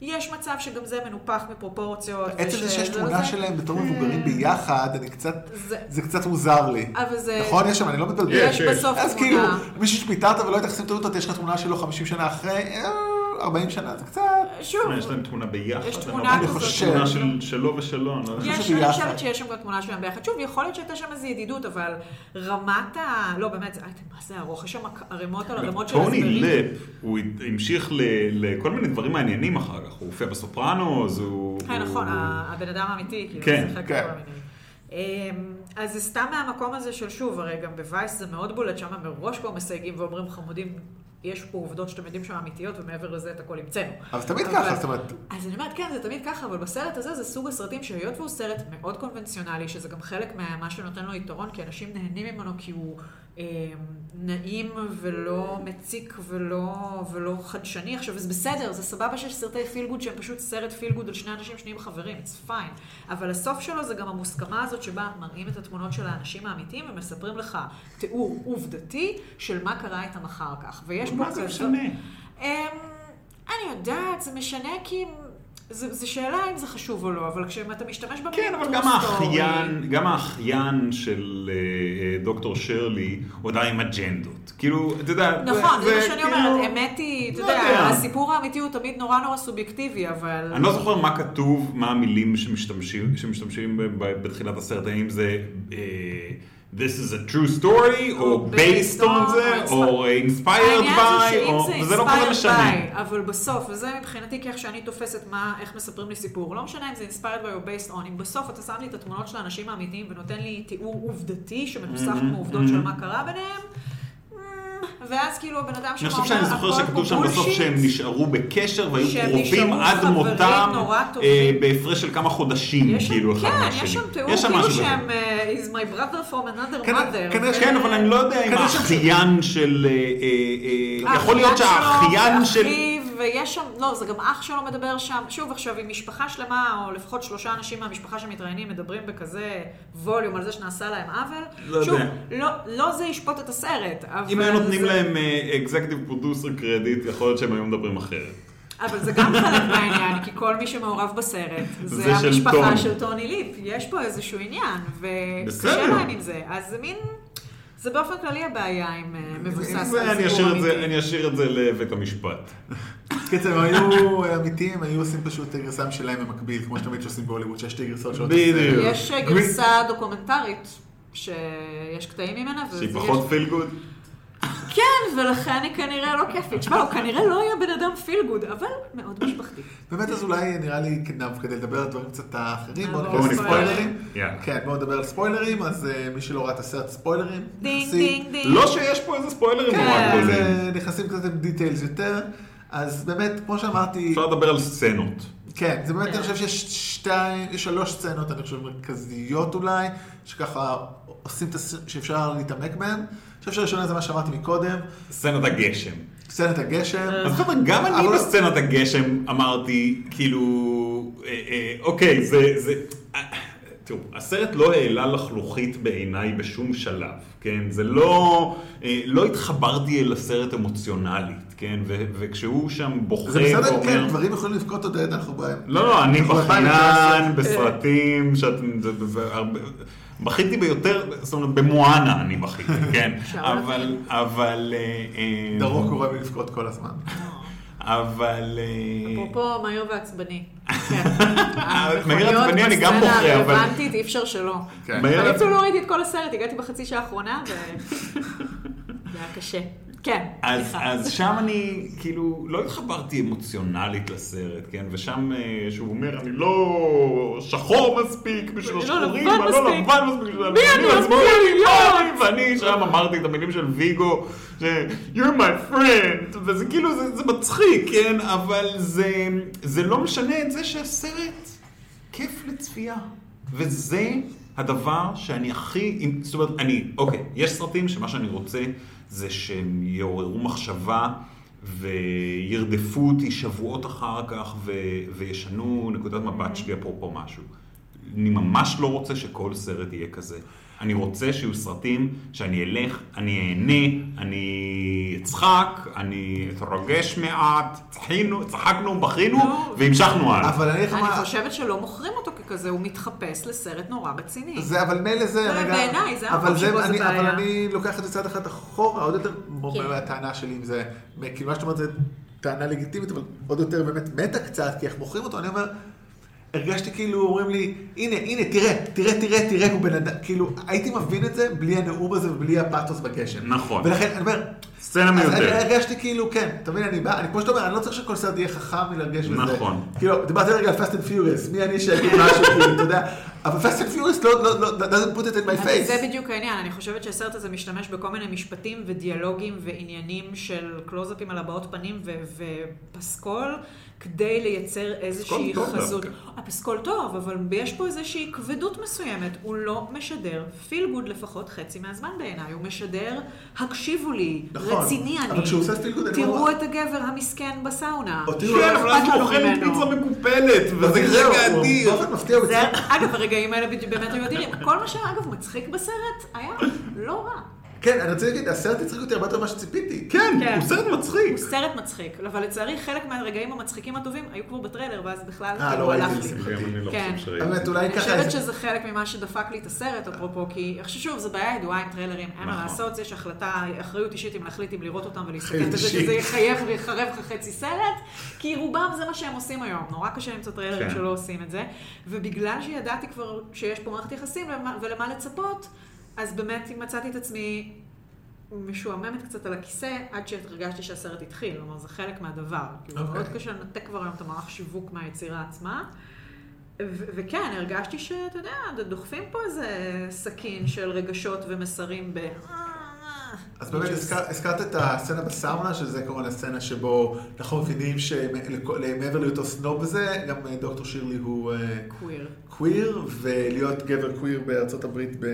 S3: יש מצב שגם זה מנופח מפרופורציות.
S2: עצם זה
S3: וש-
S2: שיש
S3: זה
S2: תמונה
S3: לא, זה. אה.
S2: שלהם בתור מבוגרים ביחד, אני קצת,
S3: זה-
S2: זה קצת מוזר לי.
S3: אבל זה...
S2: נכון? יש שם, אני לא מתבלבל.
S3: יש
S4: יש, יש.
S3: בסוף
S2: אז כאילו,
S3: תמונה.
S2: מישהו שפיטרת ולא היית חסים תעודות, יש לך תמונה שלו 50 שנה אחרי, אה, 40 שנה, זה קצת...
S3: שוב,
S4: יש להם תמונה ביחד.
S3: יש
S4: הם
S3: תמונה כן,
S4: אמרו,
S2: כזאת.
S4: תמונה של- שלו ושלו. אני לא יודע.
S3: יש,
S2: חושב
S3: אני
S2: שביחד.
S3: חושבת שיש שם גם תמונה שלהם ביחד. שוב, יכול להיות שהייתה שם איזו ידידות, אבל רמת ה... לא, באמת, זה... אה, מה זה ארוך? יש שם ערימות על ערימות של
S4: טוני
S3: הסברים.
S4: לפ, הוא המשיך ל- לכל מיני דברים מעניינים אחר כך. הוא הופיע בסופרנוס, הוא...
S3: כן, נכון,
S4: הוא-
S3: ה- הבן אדם האמיתי, כאילו,
S4: כן,
S3: שיחק
S2: כן.
S3: בכל מיני. אמ, אז זה סתם מהמקום הזה של שוב, הרי גם בווייס זה מאוד בולט, שם מראש כבר מסייגים ואומרים חמודים, יש פה עובדות שאתם יודעים שהן אמיתיות, ומעבר לזה את הכל המצאנו.
S2: אבל זה תמיד
S3: אבל-
S2: ככה, זאת אומרת,
S3: אז אני אומרת, כן, זה תמיד ככה, אבל בסרט הזה זה סוג הסרטים שהיות והוא סרט מאוד קונבנציונלי, שזה גם חלק ממה שנותן לו יתרון, כי אנשים נהנים ממנו כי הוא אה, נעים ולא מציק ולא, ולא חדשני. עכשיו, זה בסדר, זה סבבה שיש סרטי פיל גוד שהם פשוט סרט פיל גוד על שני אנשים שנהיים חברים, it's fine. אבל הסוף שלו זה גם המוסכמה הזאת שבה מראים את התמונות של האנשים האמיתיים ומספרים לך תיאור עובדתי של מה קרה איתם אחר כך. ויש פה
S4: מה זה
S3: כזאת-
S4: משנה?
S3: אמ, אני יודעת, זה משנה כי... זה, זה שאלה אם זה חשוב או לא, אבל כשאתה משתמש במילים
S4: כן, אבל
S3: true
S4: גם
S3: story-
S4: האחיין, גם האחיין של אה, אה, דוקטור שרלי, הוא עדיין עם אג'נדות. כאילו, אתה יודע...
S3: נכון, זה, מה שאני
S4: כאילו-
S3: אומרת, אמת היא, אתה
S4: לא
S3: יודע,
S4: יודע.
S3: הסיפור האמיתי הוא תמיד נורא נורא סובייקטיבי, אבל...
S4: אני לא זוכר מה כתוב, מה המילים שמשתמשים, שמשתמשים ב- ב- בתחילת הסרט, האם זה אה, This is a true story, או based on זה, או inspired by,
S3: העניין
S4: או-
S3: זה שאם
S4: וזה
S3: זה
S4: לא כזה
S3: inspired
S4: משנה.
S3: by, אבל בסוף, וזה מבחינתי כאיך שאני תופסת מה, איך מספרים לי סיפור, לא משנה אם זה inspired by או based on, אם בסוף אתה שם לי את התמונות של האנשים האמיתיים ונותן לי תיאור עובדתי שמנוסח
S4: Mhm,
S3: מעובדות
S4: mhm.
S3: של מה קרה ביניהם, mm, ואז כאילו הבן אדם שם
S4: אני
S3: אומר,
S4: חושב שאני זוכר
S3: "הכל פה
S4: שכתוב שם בסוף
S3: bullshit".
S4: שהם נשארו בקשר והיו
S3: שהם
S4: קרובים
S3: נשארו
S4: עד
S3: חברים
S4: מותם,
S3: נורא
S4: אה,
S3: טובים.
S4: בהפרש של כמה חודשים,
S3: יש שם-
S4: כאילו, אחד
S3: כן,
S4: מהשני.
S3: יש שם תיאור,
S4: יש שם
S3: כאילו
S4: משהו כזה.
S3: שהם, אה, is my brother from another
S2: כנראה-
S3: mother.
S2: כנראה
S3: ו-
S4: כן, אבל אני לא יודע אם
S2: כנראה ש-
S4: האחיין של... אה, אה, אה, יכול
S3: האחיין
S4: להיות
S3: שלו,
S4: שהאחיין של...
S3: ואחיו, ויש שם, לא, זה גם אח שלו מדבר שם. שוב, עכשיו, עם משפחה שלמה, או לפחות שלושה אנשים מהמשפחה שמתראיינים, מדברים בכזה ווליום על זה שנעשה להם עוול.
S4: לא
S3: שוב,
S4: יודע.
S3: לא, לא זה ישפוט את הסרט, אבל...
S4: אם היו נותנים
S3: זה-
S4: להם אה, אקזקטיב פרודוסר קרדיט, יכול להיות שהם היו מדברים אחרת.
S3: אבל זה גם חלק מהעניין, כי כל מי שמעורב בסרט, זה,
S4: זה של טוני.
S3: המשפחה של טוני ליפ. יש פה איזשהו עניין, וקשה
S4: בסדר.
S3: להם עם זה. אז זה מין... זה באופן כללי הבעיה עם אה, מבוסס על
S4: זה, אני
S3: סיפור
S4: אשאיר את זה-
S3: אמיתי.
S4: אני אשאיר את זה לבית המשפט.
S2: קיצר, הם היו אמיתיים, היו עושים פשוט את הגרסם שלהם במקביל, כמו שתמיד שעושים בהוליווד, שיש שתי גרסאות שלו.
S4: בדיוק.
S3: יש אה,
S2: גרין-
S3: גרסה דוקומנטרית, שיש קטעים ממנה, וזה
S4: שהיא פחות פיל גוד.
S3: כן, ולכן היא כנראה לא כיפית. תשמע, הוא כנראה לא היה בן אדם פיל גוד, אבל מאוד משפחתי.
S2: באמת, אז אולי נראה לי כנב כדי לדבר על דברים קצת האחרים, בואו
S3: נעבור
S2: נדבר על
S4: לספוילרים.
S2: ספוילרים.
S4: יאללה.
S2: כן, בואו נדבר על ספוילרים, אז אה, מי שלא ראה את הסרט ספוילרים,
S3: דינג,
S2: נכנסים-
S3: דינג, דינג.
S4: לא שיש פה איזה ספוילרים
S3: כן.
S4: נורא
S2: אז,
S4: גדולים.
S2: אה, נכנסים קצת עם דיטיילס יותר, אז באמת, כמו שאמרתי,
S4: אפשר לדבר על סצנות.
S2: כן, זה באמת, אני חושב שיש שתיים, יש שלוש סצנות, אני חושב, מרכזיות אולי, שככה עושים את הס... שאפשר להתעמק בהן. אני חושב שהראשונה זה מה שאמרתי מקודם,
S4: סצנת הגשם.
S2: סצנת הגשם.
S4: אז חבר'ה, גם אני
S2: אבל- לא-
S4: בסצנת הגשם אמרתי, כאילו, אה, אה, אוקיי, זה, זה, אה, תראו, הסרט לא העלה לחלוכית בעיניי בשום שלב, כן? זה לא, אה, לא התחברתי אל הסרט אמוציונלית, כן? ו- וכשהוא שם בוכה
S2: זה בסדר,
S4: ואומר...
S2: כן, דברים יכולים לבכות עוד עד אנחנו בהם.
S4: לא, לא, אני
S2: אנחנו ב-2019.
S4: בחינן, בסרטים, שאתם... זה- זה- זה הרבה- בכיתי ביותר, זאת אומרת, במואנה אני בכיתי, כן?
S3: אפשר
S4: אבל, אבל... אה, אה,
S2: דרור קורא לי לבכות כל הזמן.
S4: אבל... אה,
S3: אפרופו מהיר ועצבני. כן.
S4: מהיר ועצבני אני גם בוכה, אבל-
S3: הרלוונטית, אי אפשר שלא.
S2: כן.
S4: מהיר
S3: אני
S4: ועצבני-
S3: אפילו לא ראיתי את כל הסרט, הגעתי בחצי שעה האחרונה, ו... זה היה קשה. כן,
S4: אז,
S3: סליחה.
S4: אז שם אני, כאילו, לא התחברתי אמוציונלית לסרט, כן? ושם, אה, שהוא אומר, אני לא שחור מספיק בשביל
S3: אני לא
S4: השחורים,
S3: לבן
S4: אני לא
S3: מספיק.
S4: לבן מספיק בשביל
S3: מי
S4: הלבנים,
S3: אני
S4: אז מי
S3: אמור
S4: אני?
S3: להיות?"
S4: אוי, ואני שם אמרתי את המילים של ויגו, ש- you're my friend, וזה כאילו, זה, זה מצחיק, כן? אבל זה, זה לא משנה את זה שהסרט כיף לצפייה. וזה הדבר שאני הכי, זאת אומרת, אני, אוקיי, יש סרטים שמה שאני רוצה זה שהם יעוררו מחשבה וירדפו אותי שבועות אחר כך ו, וישנו נקודת מבט שלי אפרופו משהו. אני ממש לא רוצה שכל סרט יהיה כזה. אני רוצה שיהיו סרטים שאני אלך, אני אהנה, אני אצחק, אני אתרגש מעט, צחינו, צחקנו, בכינו
S3: לא.
S4: והמשכנו הלאה.
S2: אבל אני אגיד לך
S3: אני
S2: מה...
S3: חושבת שלא מוכרים אותו ככזה, הוא מתחפש לסרט נורא רציני.
S2: זה אבל מילא זה,
S3: אבל
S2: רגע,
S3: לא, בעיניי זה
S2: אבל
S3: המקום שבו זה
S2: אני-
S3: בעיה.
S2: אבל אני לוקח את זה צעד אחד אחורה, עוד יותר, כמו
S3: כן.
S2: הטענה שלי עם זה, כאילו מה שאת אומרת זה טענה לגיטימית, אבל עוד יותר באמת מתה קצת, כי איך מוכרים אותו, אני אומר, הרגשתי כאילו אומרים לי, הנה, הנה, תראה, תראה, תראה, תראה, הוא בן אדם, כאילו, הייתי מבין את זה בלי הנאום הזה ובלי הפאתוס בגשם.
S4: נכון.
S2: ולכן, אני אומר,
S4: סצנה
S2: אז אני
S4: מיותרת.
S2: הרגשתי כאילו, כן, אתה מבין, אני בא, אני כמו שאתה אומר, אני לא צריך שכל סרט יהיה חכם מלהרגש בזה.
S4: נכון.
S2: כאילו, דיברתי רגע על Fast and Furious, מי אני שאגיד משהו, כאילו, אתה יודע, אבל Fast and Furious לא, לא, לא, doesn't put it in my
S3: אבל
S2: face.
S3: זה בדיוק העניין, אני חושבת שהסרט הזה משתמש בכל מיני משפטים ודיאלוגים ועניינים של קלוזאפים על הבעות פנים ו- ופסקול, כדי לייצר איזושהי
S4: פסקול טוב
S2: כן.
S3: חזות.
S4: דווקא.
S3: הפסקול טוב, אבל יש פה איזושהי כבדות מסוימת, הוא לא משדר פיל גוד לפחות חצי מהזמן בעיניי, הוא משדר, הקשיבו לי,
S2: נכון,
S3: רציני אני,
S2: אבל כשהוא עושה feel good, אני
S3: תראו
S2: אומר,
S3: את הגבר המסכן בסאונה,
S2: אותי הוא לא
S4: כן,
S3: שאכפת
S4: אבל אז הוא
S3: לנו
S4: אוכל
S3: ממנו.
S4: פיצה מקופלת, וזה
S2: אבל אוקיי, זהו,
S4: רגע
S2: לא, הוא
S4: אדיר.
S2: באופן מפתיע הוא
S3: זה,
S2: הצליח.
S3: אגב, הרגעים האלה בדיוק באמת היו אדירים. כל מה שהיה, אגב, מצחיק בסרט, היה לא רע.
S2: כן, אני רוצה להגיד, הסרט הצחיק אותי הרבה יותר ממה שציפיתי.
S4: כן,
S3: כן.
S4: הוא סרט מצחיק.
S3: הוא סרט מצחיק, אבל לצערי חלק מהרגעים המצחיקים הטובים היו כבר בטריילר, ואז בכלל
S2: אה,
S3: כאילו,
S2: לא
S3: הלך
S2: ראיתי את
S3: לי.
S2: זה.
S4: גם אני לא
S3: כן.
S4: חושב שראיתי.
S2: באמת, אולי
S3: אני
S2: ככה...
S3: חושבת שזה חלק ממה שדפק לי את הסרט, אפרופו, כי אני חושבת שוב, זו בעיה ידועה עם טריילרים, אין מה
S4: נכון.
S3: לעשות, יש החלטה, אחריות אישית אם להחליט אם לראות אותם ולהסתכל
S2: אחריות
S3: בזה,
S2: אישית.
S3: שזה יחייך ויחרב לך חצי סרט, כי רובם זה מה שהם עושים היום, נורא קשה למצוא טריילרים
S4: כן.
S3: שלא עושים את זה, ובגלל שידעתי כבר שיש פה מערכת יחסים ולמה- ולמה לצפות, אז באמת מצאתי את עצמי משועממת קצת על הכיסא, עד שהרגשתי שהסרט התחיל, כלומר זה חלק מהדבר. כאילו okay.
S2: אוקיי.
S3: מאוד קשה לנתק כבר היום את המערך שיווק מהיצירה עצמה. ו- וכן, הרגשתי שאתה יודע, דוחפים פה איזה סכין של רגשות ומסרים ב...
S2: אז באמת הזכר- הזכרת את הסצנה בסאונה, שזה כמובן הסצנה שבו אנחנו מבינים שמעבר להיותו סנוב וזה, גם אה, דוקטור שירלי הוא אה,
S3: קוויר.
S2: קוויר, ולהיות גבר קוויר בארצות הברית ב...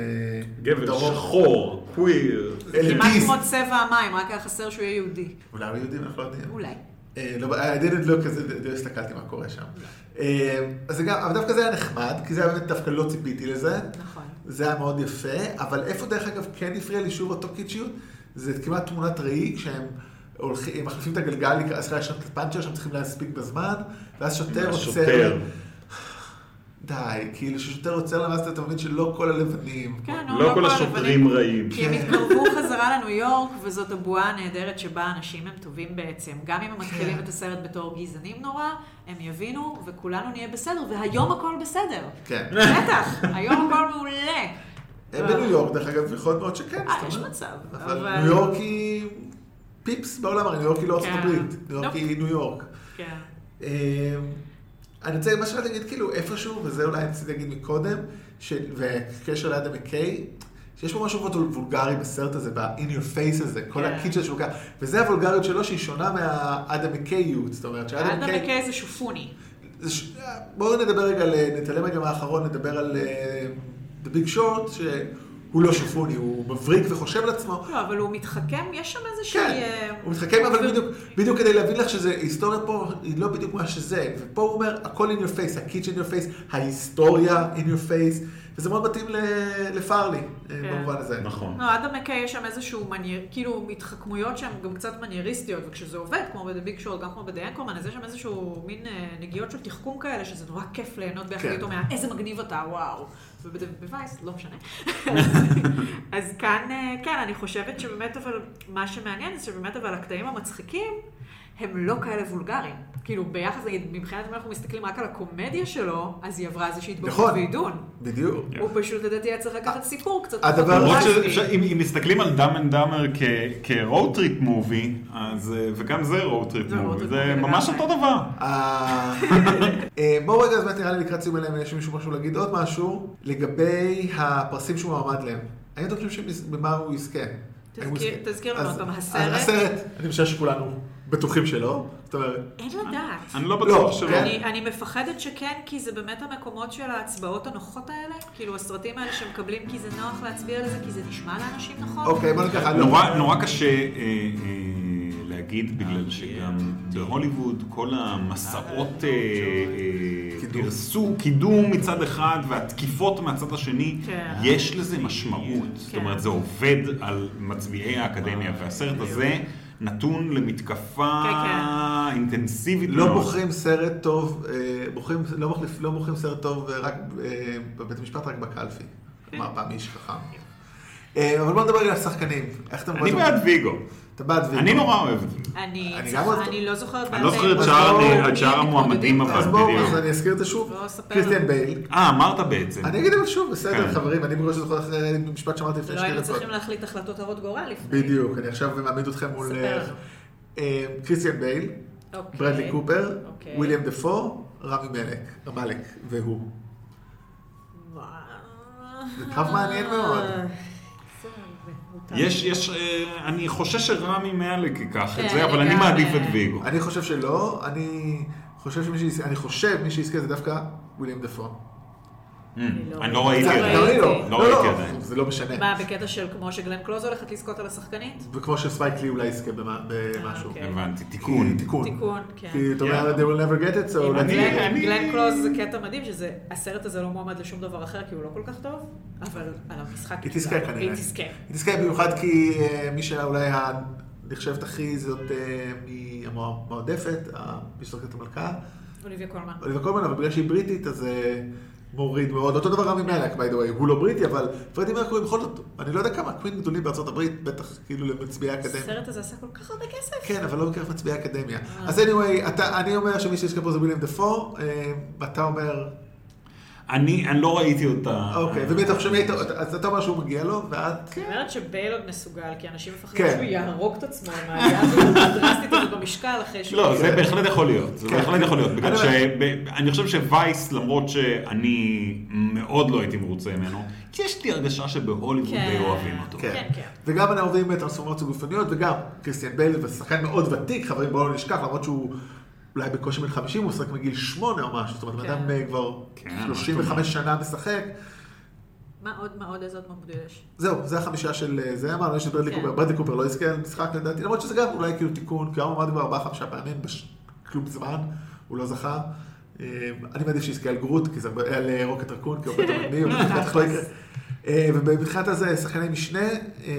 S4: גבר
S2: בדרום.
S4: שחור, קוויר.
S3: כמעט
S2: אליטיסט.
S3: כמו צבע המים, רק היה חסר שהוא יהיה יהודי.
S2: אולי הם יהודים, אנחנו לא יודעים.
S3: אולי.
S2: אה, לא, I didn't look, אז לא הסתכלתי מה קורה שם. אה, אז זה גם, אבל דווקא זה היה נחמד, כי זה היה באמת, דווקא לא ציפיתי לזה.
S3: נכון.
S2: זה היה מאוד יפה, אבל איפה דרך אגב כן הפריע לי שוב אותו קיצ'יות, זה כמעט תמונת ראי, כשהם הולכים, הם מחליפים את הגלגל, לקראת- סליחה, יש שם את הפאנצ'ר שהם צריכים להספיק בזמן, ואז שוטר עוצר.
S4: השוטר.
S2: די, כאילו ששוטר עוצר להם, ואז אתה מבין שלא כל הלבנים.
S3: כן, נו,
S4: לא כל
S3: הלבנים.
S4: השוטרים רעים.
S3: כי הם כן. התקרבו חזרה לניו יורק, וזאת הבועה הנהדרת שבה האנשים הם טובים בעצם. גם אם הם מתחילים את הסרט בתור גזענים נורא, הם יבינו, וכולנו נהיה בסדר, והיום הכל בסדר.
S2: כן.
S3: בטח, היום הכל מעולה.
S2: הם בניו יורק, דרך אגב, יכול להיות מאוד שכן.
S3: אה,
S2: זאת
S3: יש
S2: אומרת.
S3: מצב,
S2: אבל
S3: אבל-
S2: ניו יורק היא פיפס בעולם, הרי ניו יורק היא לא ארצות
S3: כן.
S2: הברית, ניו יורק
S3: נופ.
S2: היא ניו יורק.
S3: כן.
S2: אמ, אני רוצה, מה שאני להגיד, כאילו, איפשהו, וזה אולי רציתי להגיד מקודם, ש- וקשר לידה מקיי, שיש פה משהו מאוד וולגרי בסרט הזה, ב-in your face הזה, כל
S3: כן.
S2: הקיצ'ה שהוא לוקח, וזה הוולגריות שלו שהיא שונה מהאדם מקייות, זאת אומרת,
S3: אדם
S2: שאדם מקיי...
S3: מקיי זה שופוני.
S2: זה ש- בואו נדבר רגע, על, אה, נתעלם רגע מהאחרון, נדבר על אה, The Big Short, שהוא לא שופוני, הוא מבריק וחושב על עצמו,
S3: לא, אבל הוא מתחכם, יש שם איזושהי...
S2: כן,
S3: אה,
S2: הוא מתחכם, אבל
S3: ו-
S2: בדיוק, בדיוק כדי להבין לך שזה, היסטוריה פה היא לא בדיוק מה שזה, ופה הוא אומר, הכל in your face, ה-kitchen in your face, ההיסטוריה in your face, וזה מאוד מתאים ל- לפארלי, אה,
S3: כן.
S2: במובן הזה.
S4: נכון.
S3: לא, אדם מקיי יש שם איזשהו מנייר, כאילו התחכמויות שהן גם קצת מנייריסטיות, וכשזה עובד, כמו בביג שור, גם כמו בדיינקורמן, אז יש שם איזשהו מין אה, נגיעות של תחכום כאלה, שזה נורא כיף ליהנות ביחד
S2: כן.
S3: איתו מה, איזה מגניב אתה, וואו. ובווייס, לא משנה. אז כאן, אה, כן, אני חושבת שבאמת, אבל, מה שמעניין זה שבאמת, אבל הקטעים המצחיקים, הם לא כאלה וולגריים. כאילו, ביחס, נגיד, מבחינת אם אנחנו מסתכלים רק על הקומדיה שלו, אז היא עברה איזושהי התבגרות
S2: נכון.
S3: ועידון.
S2: בדיוק.
S3: הוא פשוט, לדעתי, היה צריך לקחת סיפור קצת. לא
S2: הדבר-
S3: פחות
S4: למרות
S3: דרמטי.
S4: שאם אם מסתכלים על דאם אנד דאמר כרואוד טריפ מובי, אז אה, וגם זה רואוד טריפ
S3: זה road
S4: מובי,
S3: trip
S4: זה
S3: movie
S4: ממש
S3: לגמרי.
S4: אותו דבר.
S2: אה, אה, בואו רגע, אז באמת נראה לי לקראת סיום אליהם, יש מישהו משהו להגיד עוד משהו לגבי הפרסים שהוא מועמד להם. האם אתם חושבים שבמה הוא יזכה? האם הוא
S3: תזכיר-
S2: יזכה?
S3: תזכיר לנו
S2: אז-
S3: אותם,
S2: אז
S3: הסרט?
S2: הסרט, אני חושב שכולנו בטוחים שלא, זאת אומרת,
S3: אין לדעת.
S4: אני לא בטוח
S2: לא,
S4: שלא.
S2: כן.
S3: אני, אני מפחדת שכן, כי זה באמת המקומות של ההצבעות הנוחות האלה, כאילו הסרטים האלה שמקבלים כי זה נוח להצביע על זה, כי זה נשמע לאנשים נכון.
S2: אוקיי, בוא ניקח, אני-
S4: נורא, נורא קשה אה, אה, להגיד, בגלל שגם בהוליווד כל המסעות אה, אה,
S2: קידום.
S4: פרסום, קידום מצד אחד והתקיפות מהצד השני,
S3: כן.
S4: יש לזה משמעות. זאת אומרת, זה עובד על מצביעי האקדמיה, והסרט הזה נתון למתקפה
S3: כן,
S4: אינטנסיבית
S2: לא בוחרים סרט טוב, אה, בוחרים, לא, מחליף, לא בוחרים סרט טוב אה, רק אה, בבית המשפט, רק בקלפי.
S4: כן.
S2: מה, פעם איש חכם. אה, אבל בוא נדבר רגע על השחקנים. איך אתם
S4: אני בעד ויגו.
S2: טבעת ואיפור.
S4: אני נורא אוהב את זה.
S3: אני
S2: אני
S3: צריכה-
S2: גם אוהב-
S3: אני לא זוכרת
S4: אני לא
S3: בעל פה.
S4: זוכר את
S2: אז
S4: שאר
S2: בואו-
S4: המ- את שאר המועמדים, אבל
S2: אז בואו,
S4: בדיוק.
S2: אז אני אזכיר את זה שוב.
S3: לא, ספר
S2: קריסטיאן
S3: לנו.
S2: בייל.
S4: אה, אמרת בעצם.
S2: אני אגיד אבל שוב, בסדר,
S4: כן.
S2: חברים, אני בגלל שזוכר אחרי משפט שאמרתי לפני
S3: לא
S2: שתי
S3: היינו
S2: דקות.
S3: צריכים להחליט החלטות הרות גורל לפני.
S2: בדיוק, אני עכשיו מעמיד אתכם מול...
S3: ספר לנו.
S2: אה, קריסטיאן בייל,
S3: אוקיי.
S2: ברדלי קופר,
S3: אוקיי.
S2: וויליאם דפו, רמי מלק, רמלק, והוא. זה קרב מעניין מאוד.
S3: זה מותר.
S4: יש, יש, אה, אני חושש שרמי מאלק ייקח את
S3: כן,
S4: זה, אבל אני
S3: גם,
S4: מעדיף
S3: אה,
S4: את ויגו.
S2: אני חושב שלא, אני חושב שמי שיזכה, אני חושב מי שיזכה זה דווקא וויליאם דפו.
S4: אמ,
S3: לא
S4: אני
S3: ראיתי.
S4: לא ראיתי
S2: זה-
S4: את
S2: לא,
S4: זה.
S3: ראיתי.
S2: לא,
S4: לא
S2: לא,
S4: ראיתי
S2: לא,
S4: עדיין.
S2: זה לא משנה.
S3: מה, בקטע של כמו שגלן קלוז הולכת לזכות על השחקנית?
S2: וכמו שספייק לי אולי יזכה במה- במשהו.
S3: אוקיי.
S4: הבנתי,
S2: כי-
S4: תיקון.
S2: תיקון.
S3: תיקון, כן.
S2: כי אתה אומר, they will never get it, so...
S3: עם
S2: let's
S4: אני-
S2: do it."
S3: גלן-
S4: אני-
S3: גלן קלוז זה קטע מדהים, שזה, הסרט הזה לא מועמד לשום דבר אחר, כי הוא לא כל כך טוב, אבל על המשחק...
S2: היא תזכה כנראה.
S3: היא תזכה.
S2: היא תזכה במיוחד כי אה, מי שאולי נחשבת הכי זאת אה, מי- המועדפת, המשחקת המלכה,
S3: אוליביה קולמן.
S2: אוליבר קולמן, אבל בגלל שהיא בריטית אז אה, מוריד מאוד. אותו דבר רמי מלק, by the way, הוא לא בריטי, אבל פרדי מרקורי בכל זאת, אני לא יודע כמה קווין גדולים בארצות הברית, בטח כאילו למצביעי אקדמיה.
S3: הסרט הזה עשה כל כך הרבה כסף.
S2: כן, אבל לא כל כך מצביעי אקדמיה. אז anyway, אתה- אני אומר שמי שיזכה פה זה וויליאם דפו, אה, אתה אומר...
S4: אני אני לא ראיתי אותה. לא,
S2: אוקיי, ומי אתה חושב, מי אתה- אז אתה אומר שהוא מגיע לו, ואת...
S4: כן.
S3: אני אומרת שבייל עוד מסוגל, כי אנשים מפחדים
S2: כן.
S3: שהוא יהרוג את עצמו עם העלייה הזאת הדרסטית הזאת במשקל אחרי שהוא...
S4: לא, זה בהחלט יכול להיות, זה
S2: כן.
S4: בהחלט יכול להיות,
S2: אני
S4: בגלל שאני חושב שווייס, למרות שאני מאוד לא הייתי מרוצה ממנו, כי יש לי הרגשה שבהוליווד
S3: כן.
S4: די אוהבים אותו.
S3: כן, כן.
S2: וגם אנחנו אוהבים טרנספורמציות גופניות, וגם קריסטיאן בייל, ושחקן מאוד ותיק, חברים, בואו לא נשכח, למרות שהוא אולי בקושי בן 50, הוא משחק מגיל 8 או משהו, זאת אומרת,
S3: כן.
S2: אדם אה, כבר
S4: כן, מה
S2: 35 שנה משחק.
S3: מה עוד, מה עוד, איזה עוד מועמדות יש?
S2: זהו, זה החמישה של אה, זה, אמרנו, יש את ברדלי
S3: כן.
S2: קופר, ברדלי קופר לא יזכה על משחק לדעתי, למרות שזה גם אולי כאילו תיקון, כי הוא עמד כבר 4-5 פעמים בכלום זמן, הוא לא זכה. אה, אני מעדיף שיזכה על גרוט, כי זה הרבה- על אה, רוקט רקון, כי הוא הרבה יותר מגניב,
S3: נכון.
S2: אבל בטח לא יקרה. אה, ובתחילת הזה, שחקני משנה, אה,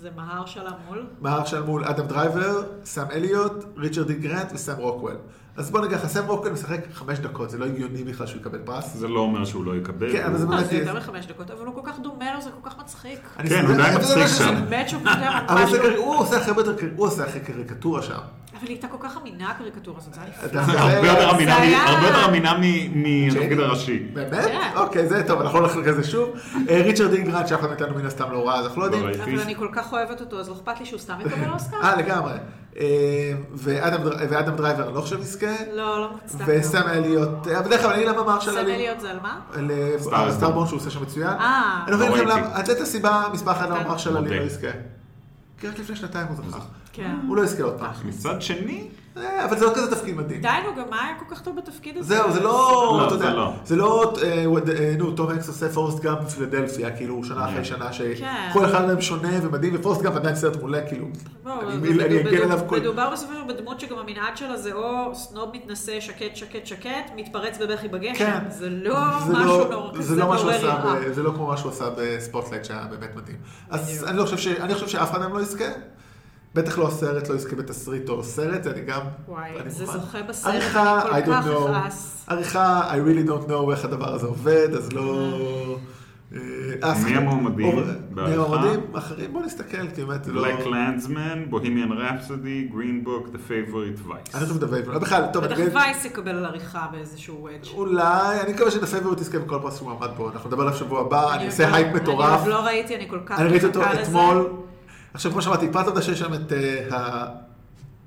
S3: זה מהר שלה מול?
S2: מהר של מול אדם דרייבר, סאם אליוט, ריצ'רד די גרנט וסאם רוקוול. אז בוא נגיד לך, סאם רוקוול משחק חמש דקות, זה לא הגיוני בכלל שהוא יקבל פרס.
S4: זה לא אומר שהוא לא יקבל.
S2: כן, אבל זה
S4: הוא-
S3: לא,
S2: באמת...
S3: זה יותר מחמש דקות, אבל הוא כל כך דומה לו, זה כל כך מצחיק.
S2: אני
S4: כן,
S2: סוגר-
S4: הוא די
S2: אבל זה
S4: מצחיק
S2: לא שזה-
S3: זה
S4: שם.
S3: מאצ'אפ יותר
S2: אבל
S3: ממש...
S2: זה לא- קר- הוא עושה הכי הרבה יותר, קר- הוא עושה הכי קריקטורה שם.
S3: אבל היא הייתה כל כך אמינה הקריקטורה הזאת, זה היה יפה.
S2: אתה-
S4: זה הרבה יותר אמינה מ-
S3: היה-
S4: הרבה יותר אמינה מ- מהתפקיד הראשי.
S2: באמת?
S3: כן.
S2: אוקיי, זה טוב, אנחנו לא נחלק על זה שוב. אה, ריצ'רד די גרנט, שאף אחד מאיתנו מן הסתם לא ראה, אז אנחנו לא יודעים.
S4: לא ראיתי.
S3: אבל אני כל כך אוהבת אותו, אז לא אכפת לי שהוא סתם יקבל
S4: לא
S3: אוסקר?
S2: אה, לגמרי. אה, ואדם דר- ואדם דרייבר, אני לא חושב נזכה.
S3: לא, לא מוצדק.
S2: וסאם אליוט, אה, בדרך כלל אני אגיד למה מר של
S3: סם
S2: אליוט.
S3: אליוט זה על מה?
S4: סטארבורן.
S2: לסטארבורן אה, שהוא עושה שם מצוין.
S3: אה. כן.
S2: אני לא
S4: לא
S2: חושב
S4: ראיתי.
S2: למה, אז את הסיבה מספר אחת למה
S3: אתה-
S2: המוח שלה
S4: מודה. נכון.
S2: לא יזכה. כי רק לפני שנתיים הוא זכה.
S3: כן.
S2: הוא לא יזכה עוד פעם.
S4: מצד שני,
S2: אה, אבל זה לא כזה תפקיד מדהים.
S3: די, נו, גם מה היה כל כך טוב בתפקיד הזה?
S2: זהו, זה לא,
S4: לא,
S2: אתה יודע,
S4: זה לא.
S2: זה לא, אה, הוא- אה, נו, תום הנקס עושה פורסט גאמפ בפילדלפיה, כאילו, שנה אחרי שנה,
S3: כן.
S2: שכל אחד מהם שונה ומדהים, ופורסט גאמפ עדיין סרט מעולה, כאילו,
S3: בואו,
S2: אני-
S3: מדוב-
S2: אני אגן
S3: מדוב-
S2: עליו כל...
S3: מדובר בסופו של דבר בדמות שגם המנעד שלה זה או סנוב מתנשא, שקט, שקט, שקט, מתפרץ בבכי בגשם.
S2: כן.
S3: זה לא
S2: זה
S3: משהו
S2: לא-
S3: נורא
S2: זה
S3: כזה
S2: לא מה שהוא
S3: מעורר
S2: עשה
S3: יראה.
S2: ב- זה לא כמו מה שהוא עשה בספוטלייט שהיה באמת מדהים. אז
S3: בדיוק.
S2: אני לא חושב ש... אני חושב שאף אחד מהם לא יזכה. בטח לא הסרט, לא יזכה בתסריט או סרט, אני גם...
S3: וואי,
S2: אני
S3: זה
S2: מוכן.
S3: זוכה בסרט,
S2: עריכה,
S3: כל
S2: I don't
S3: כך
S2: know.
S3: יכעס.
S2: עריכה, I really don't know איך הדבר הזה עובד, אז לא... אה, אה,
S4: מי המועמדים
S2: אור- מי
S4: בעריכה?
S2: המועמדים? אחרים? בוא נסתכל, כי באמת זה לא...
S4: Black Landsman, Bohemian Rhapsody, Green Book, The Favorite
S2: אני לא
S4: Vice.
S2: חושב שדווי... בכלל, טוב,
S3: בטח
S2: אני אגיד-
S3: וייס יקבל על עריכה באיזשהו וודג'.
S2: אולי, אני מקווה שדפייבורט יזכה בכל פרס שהוא עמד בו, אנחנו נדבר עליו שבוע הבא, אני אעשה הייפ מטורף.
S3: אני עוד לא ראיתי, אני כל כך
S2: אני ראיתי אותו
S3: מחכה לזה.
S2: אתמול. עכשיו, כמו שאמרתי, פרט עובדה שיש שם את אה,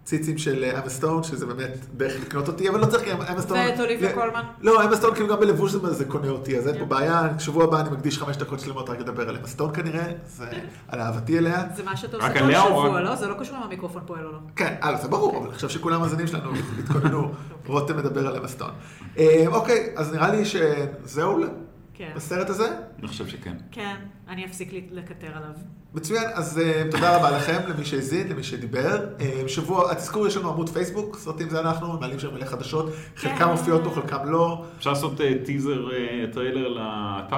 S2: הציצים של אה, אמה סטון, שזה באמת דרך לקנות אותי, אבל לא צריך, כי אמה סטון...
S3: ואת אוליביה
S2: לא-
S3: קולמן.
S2: לא, אמה סטון כאילו גם בלבוש זה- זה קונה אותי, אז אין פה בעיה. שבוע הבא אני מקדיש חמש דקות שלמות רק לדבר על אמה סטון כנראה, זה על אהבתי אליה.
S3: זה מה שאתה
S4: רק
S3: עושה כל
S4: עליה או
S3: שבוע,
S4: רק-
S3: לא? זה לא קשור אם המיקרופון פועל או לא.
S2: כן, אה, זה ברור, אבל עכשיו שכולם המאזינים שלנו התכוננו, רותם מדבר על אמה סטון. אה, אוקיי, אז נראה לי שזהו
S3: כן.
S2: בסרט הזה.
S4: אני חושב שכן.
S3: כן, אני אפסיק לי- לקטר עליו.
S2: מצוין, אז אה, תודה רבה לכם, למי שהזין, למי שדיבר. אה, שבוע, תזכור, יש לנו עמוד פייסבוק, סרטים זה אנחנו, מעלים שם מלא חדשות, חלקם מופיעות פה, חלקם לא.
S4: אפשר לעשות אה, טיזר, אה, טריילר לאתר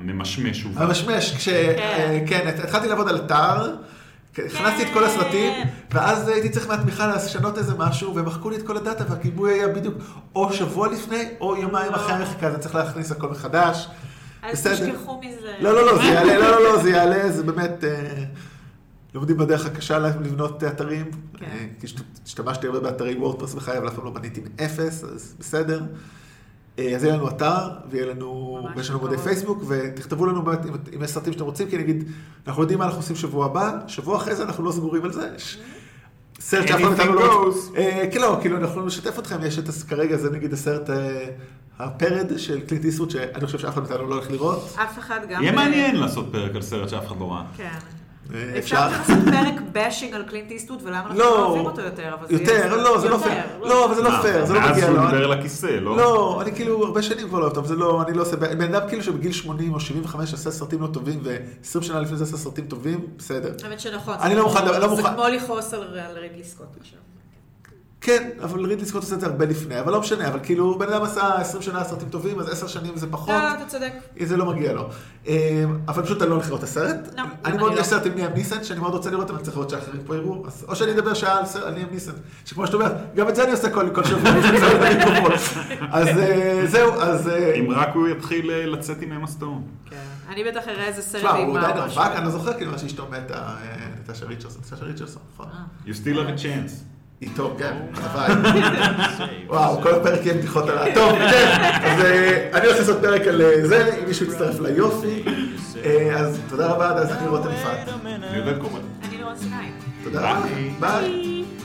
S4: הממשמש שוב.
S2: המשמש, כש... אה, כן, הת- התחלתי לעבוד על אתר, כן, הכנסתי את כל הסרטים, ואז הייתי צריך מהתמיכה לשנות איזה משהו, והם מחקו לי את כל הדאטה, והכיבוי היה בדיוק או שבוע לפני, או יומיים אחרי המחקה, אז אני צריך להכניס הכל מחדש.
S3: אל
S2: בסדר.
S3: תשכחו מזה.
S2: לא, לא, לא, זה יעלה, לא, לא, לא, זה יעלה, זה באמת... אה, לומדים בדרך הקשה לבנות אתרים.
S3: כן.
S2: אה, כי השת- השתמשתי הרבה באתרי וורדפרס בחיי, אבל אף פעם לא בניתי מאפס, אז בסדר. אה, אז יהיה לנו אתר, ויהיה לנו,
S3: ממש
S2: ויש לנו
S3: בקרוב.
S2: מודי פייסבוק, ותכתבו לנו באמת אם, אם יש סרטים שאתם רוצים, כי נגיד, אנחנו יודעים מה אנחנו עושים שבוע הבא, שבוע אחרי זה אנחנו לא סגורים על זה. יש-
S3: Mm-hmm.
S2: סרט שאף פעם
S4: Anything
S2: איתנו לא...
S4: goes.
S2: אה, כן, לא, כאילו, אנחנו יכולים לשתף אתכם, יש את, הס- כרגע זה נגיד הסרט אה, הפרד של קלינט איסטרוט, שאני חושב שאף אחד מאיתנו לא הולך לראות.
S3: אף אחד גם...
S4: יהיה
S3: ב-
S4: מעניין לעשות פרק על סרט שאף אחד לא ראה.
S3: כן.
S2: אה,
S3: אפשר לעשות פרק באשינג על קלינט איסטוט, ולמה אנחנו לא אוהבים אותו יותר, אבל זה... יהיה-
S2: יותר, לא, זה לא
S3: יותר,
S2: פייר. לא, אבל זה לא
S4: מה,
S2: פייר, זה לא
S4: מאז
S2: מגיע
S4: שהוא
S2: לו.
S4: דיבר
S2: אני-
S4: לכיסא, לא?
S2: לא, אני כאילו הרבה שנים כבר לא אוהב אותם, זה לא, אני לא עושה, בן אדם כאילו שבגיל 80 או 75 עשה סרטים לא טובים, ו-20 שנה לפני זה עשה סרטים טובים, בסדר.
S3: האמת שנכון.
S2: אני לא מוכן, לא
S3: זה
S2: מוכן.
S3: כמו לכעוס על על רידלי סקוט עכשיו.
S2: כן, אבל רידלי סקוט עושה את זה הרבה לפני, אבל לא משנה, אבל כאילו, בן אדם עשה 20 שנה סרטים טובים, אז 10 שנים זה
S3: לא,
S2: פחות.
S3: לא, אתה צודק.
S2: זה לא מגיע לו. אמ, אבל פשוט אני לא הולך לראות את הסרט.
S3: לא,
S2: אני
S3: גם
S2: מאוד,
S3: אני לא.
S2: יש סרט עם ליאם ניסן שאני מאוד רוצה לראות, אבל צריך לראות שאחרים פה יראו. אז או שאני אדבר שעה על סרט- על ליאם ניסן, שכמו שאת אומרת, גם את זה אני עושה כל כל שבוע, יש לי סרט במיקרופון. אז אה, זהו, אז... אה,
S4: אם רק הוא יתחיל אה, לצאת עם אמה סטון.
S3: כן. אני בטח אראה איזה סרט
S2: תשמע, הוא
S3: אימה
S2: עדיין
S3: או משהו.
S2: רווק, אני לא זוכר כאילו מה שאשתו מתה, אה, נטשה ריצ'רסון, נטשה ריצ'רסון, נכון.
S3: אה.
S4: You still have a chance.
S2: איתו, כן, הלוואי. וואו, כל הפרק יהיה בדיחות על ה... טוב, כן, אז אה, אני הולך לעשות פרק על אה, זה, אם מישהו יצטרף ליופי. אה, אז תודה רבה, עד אז אני רותם יפעת.
S4: אני יודע את קוראים.
S3: אני לא רואה סיני.
S2: תודה רבה,
S4: ביי.
S2: ביי.
S3: ביי.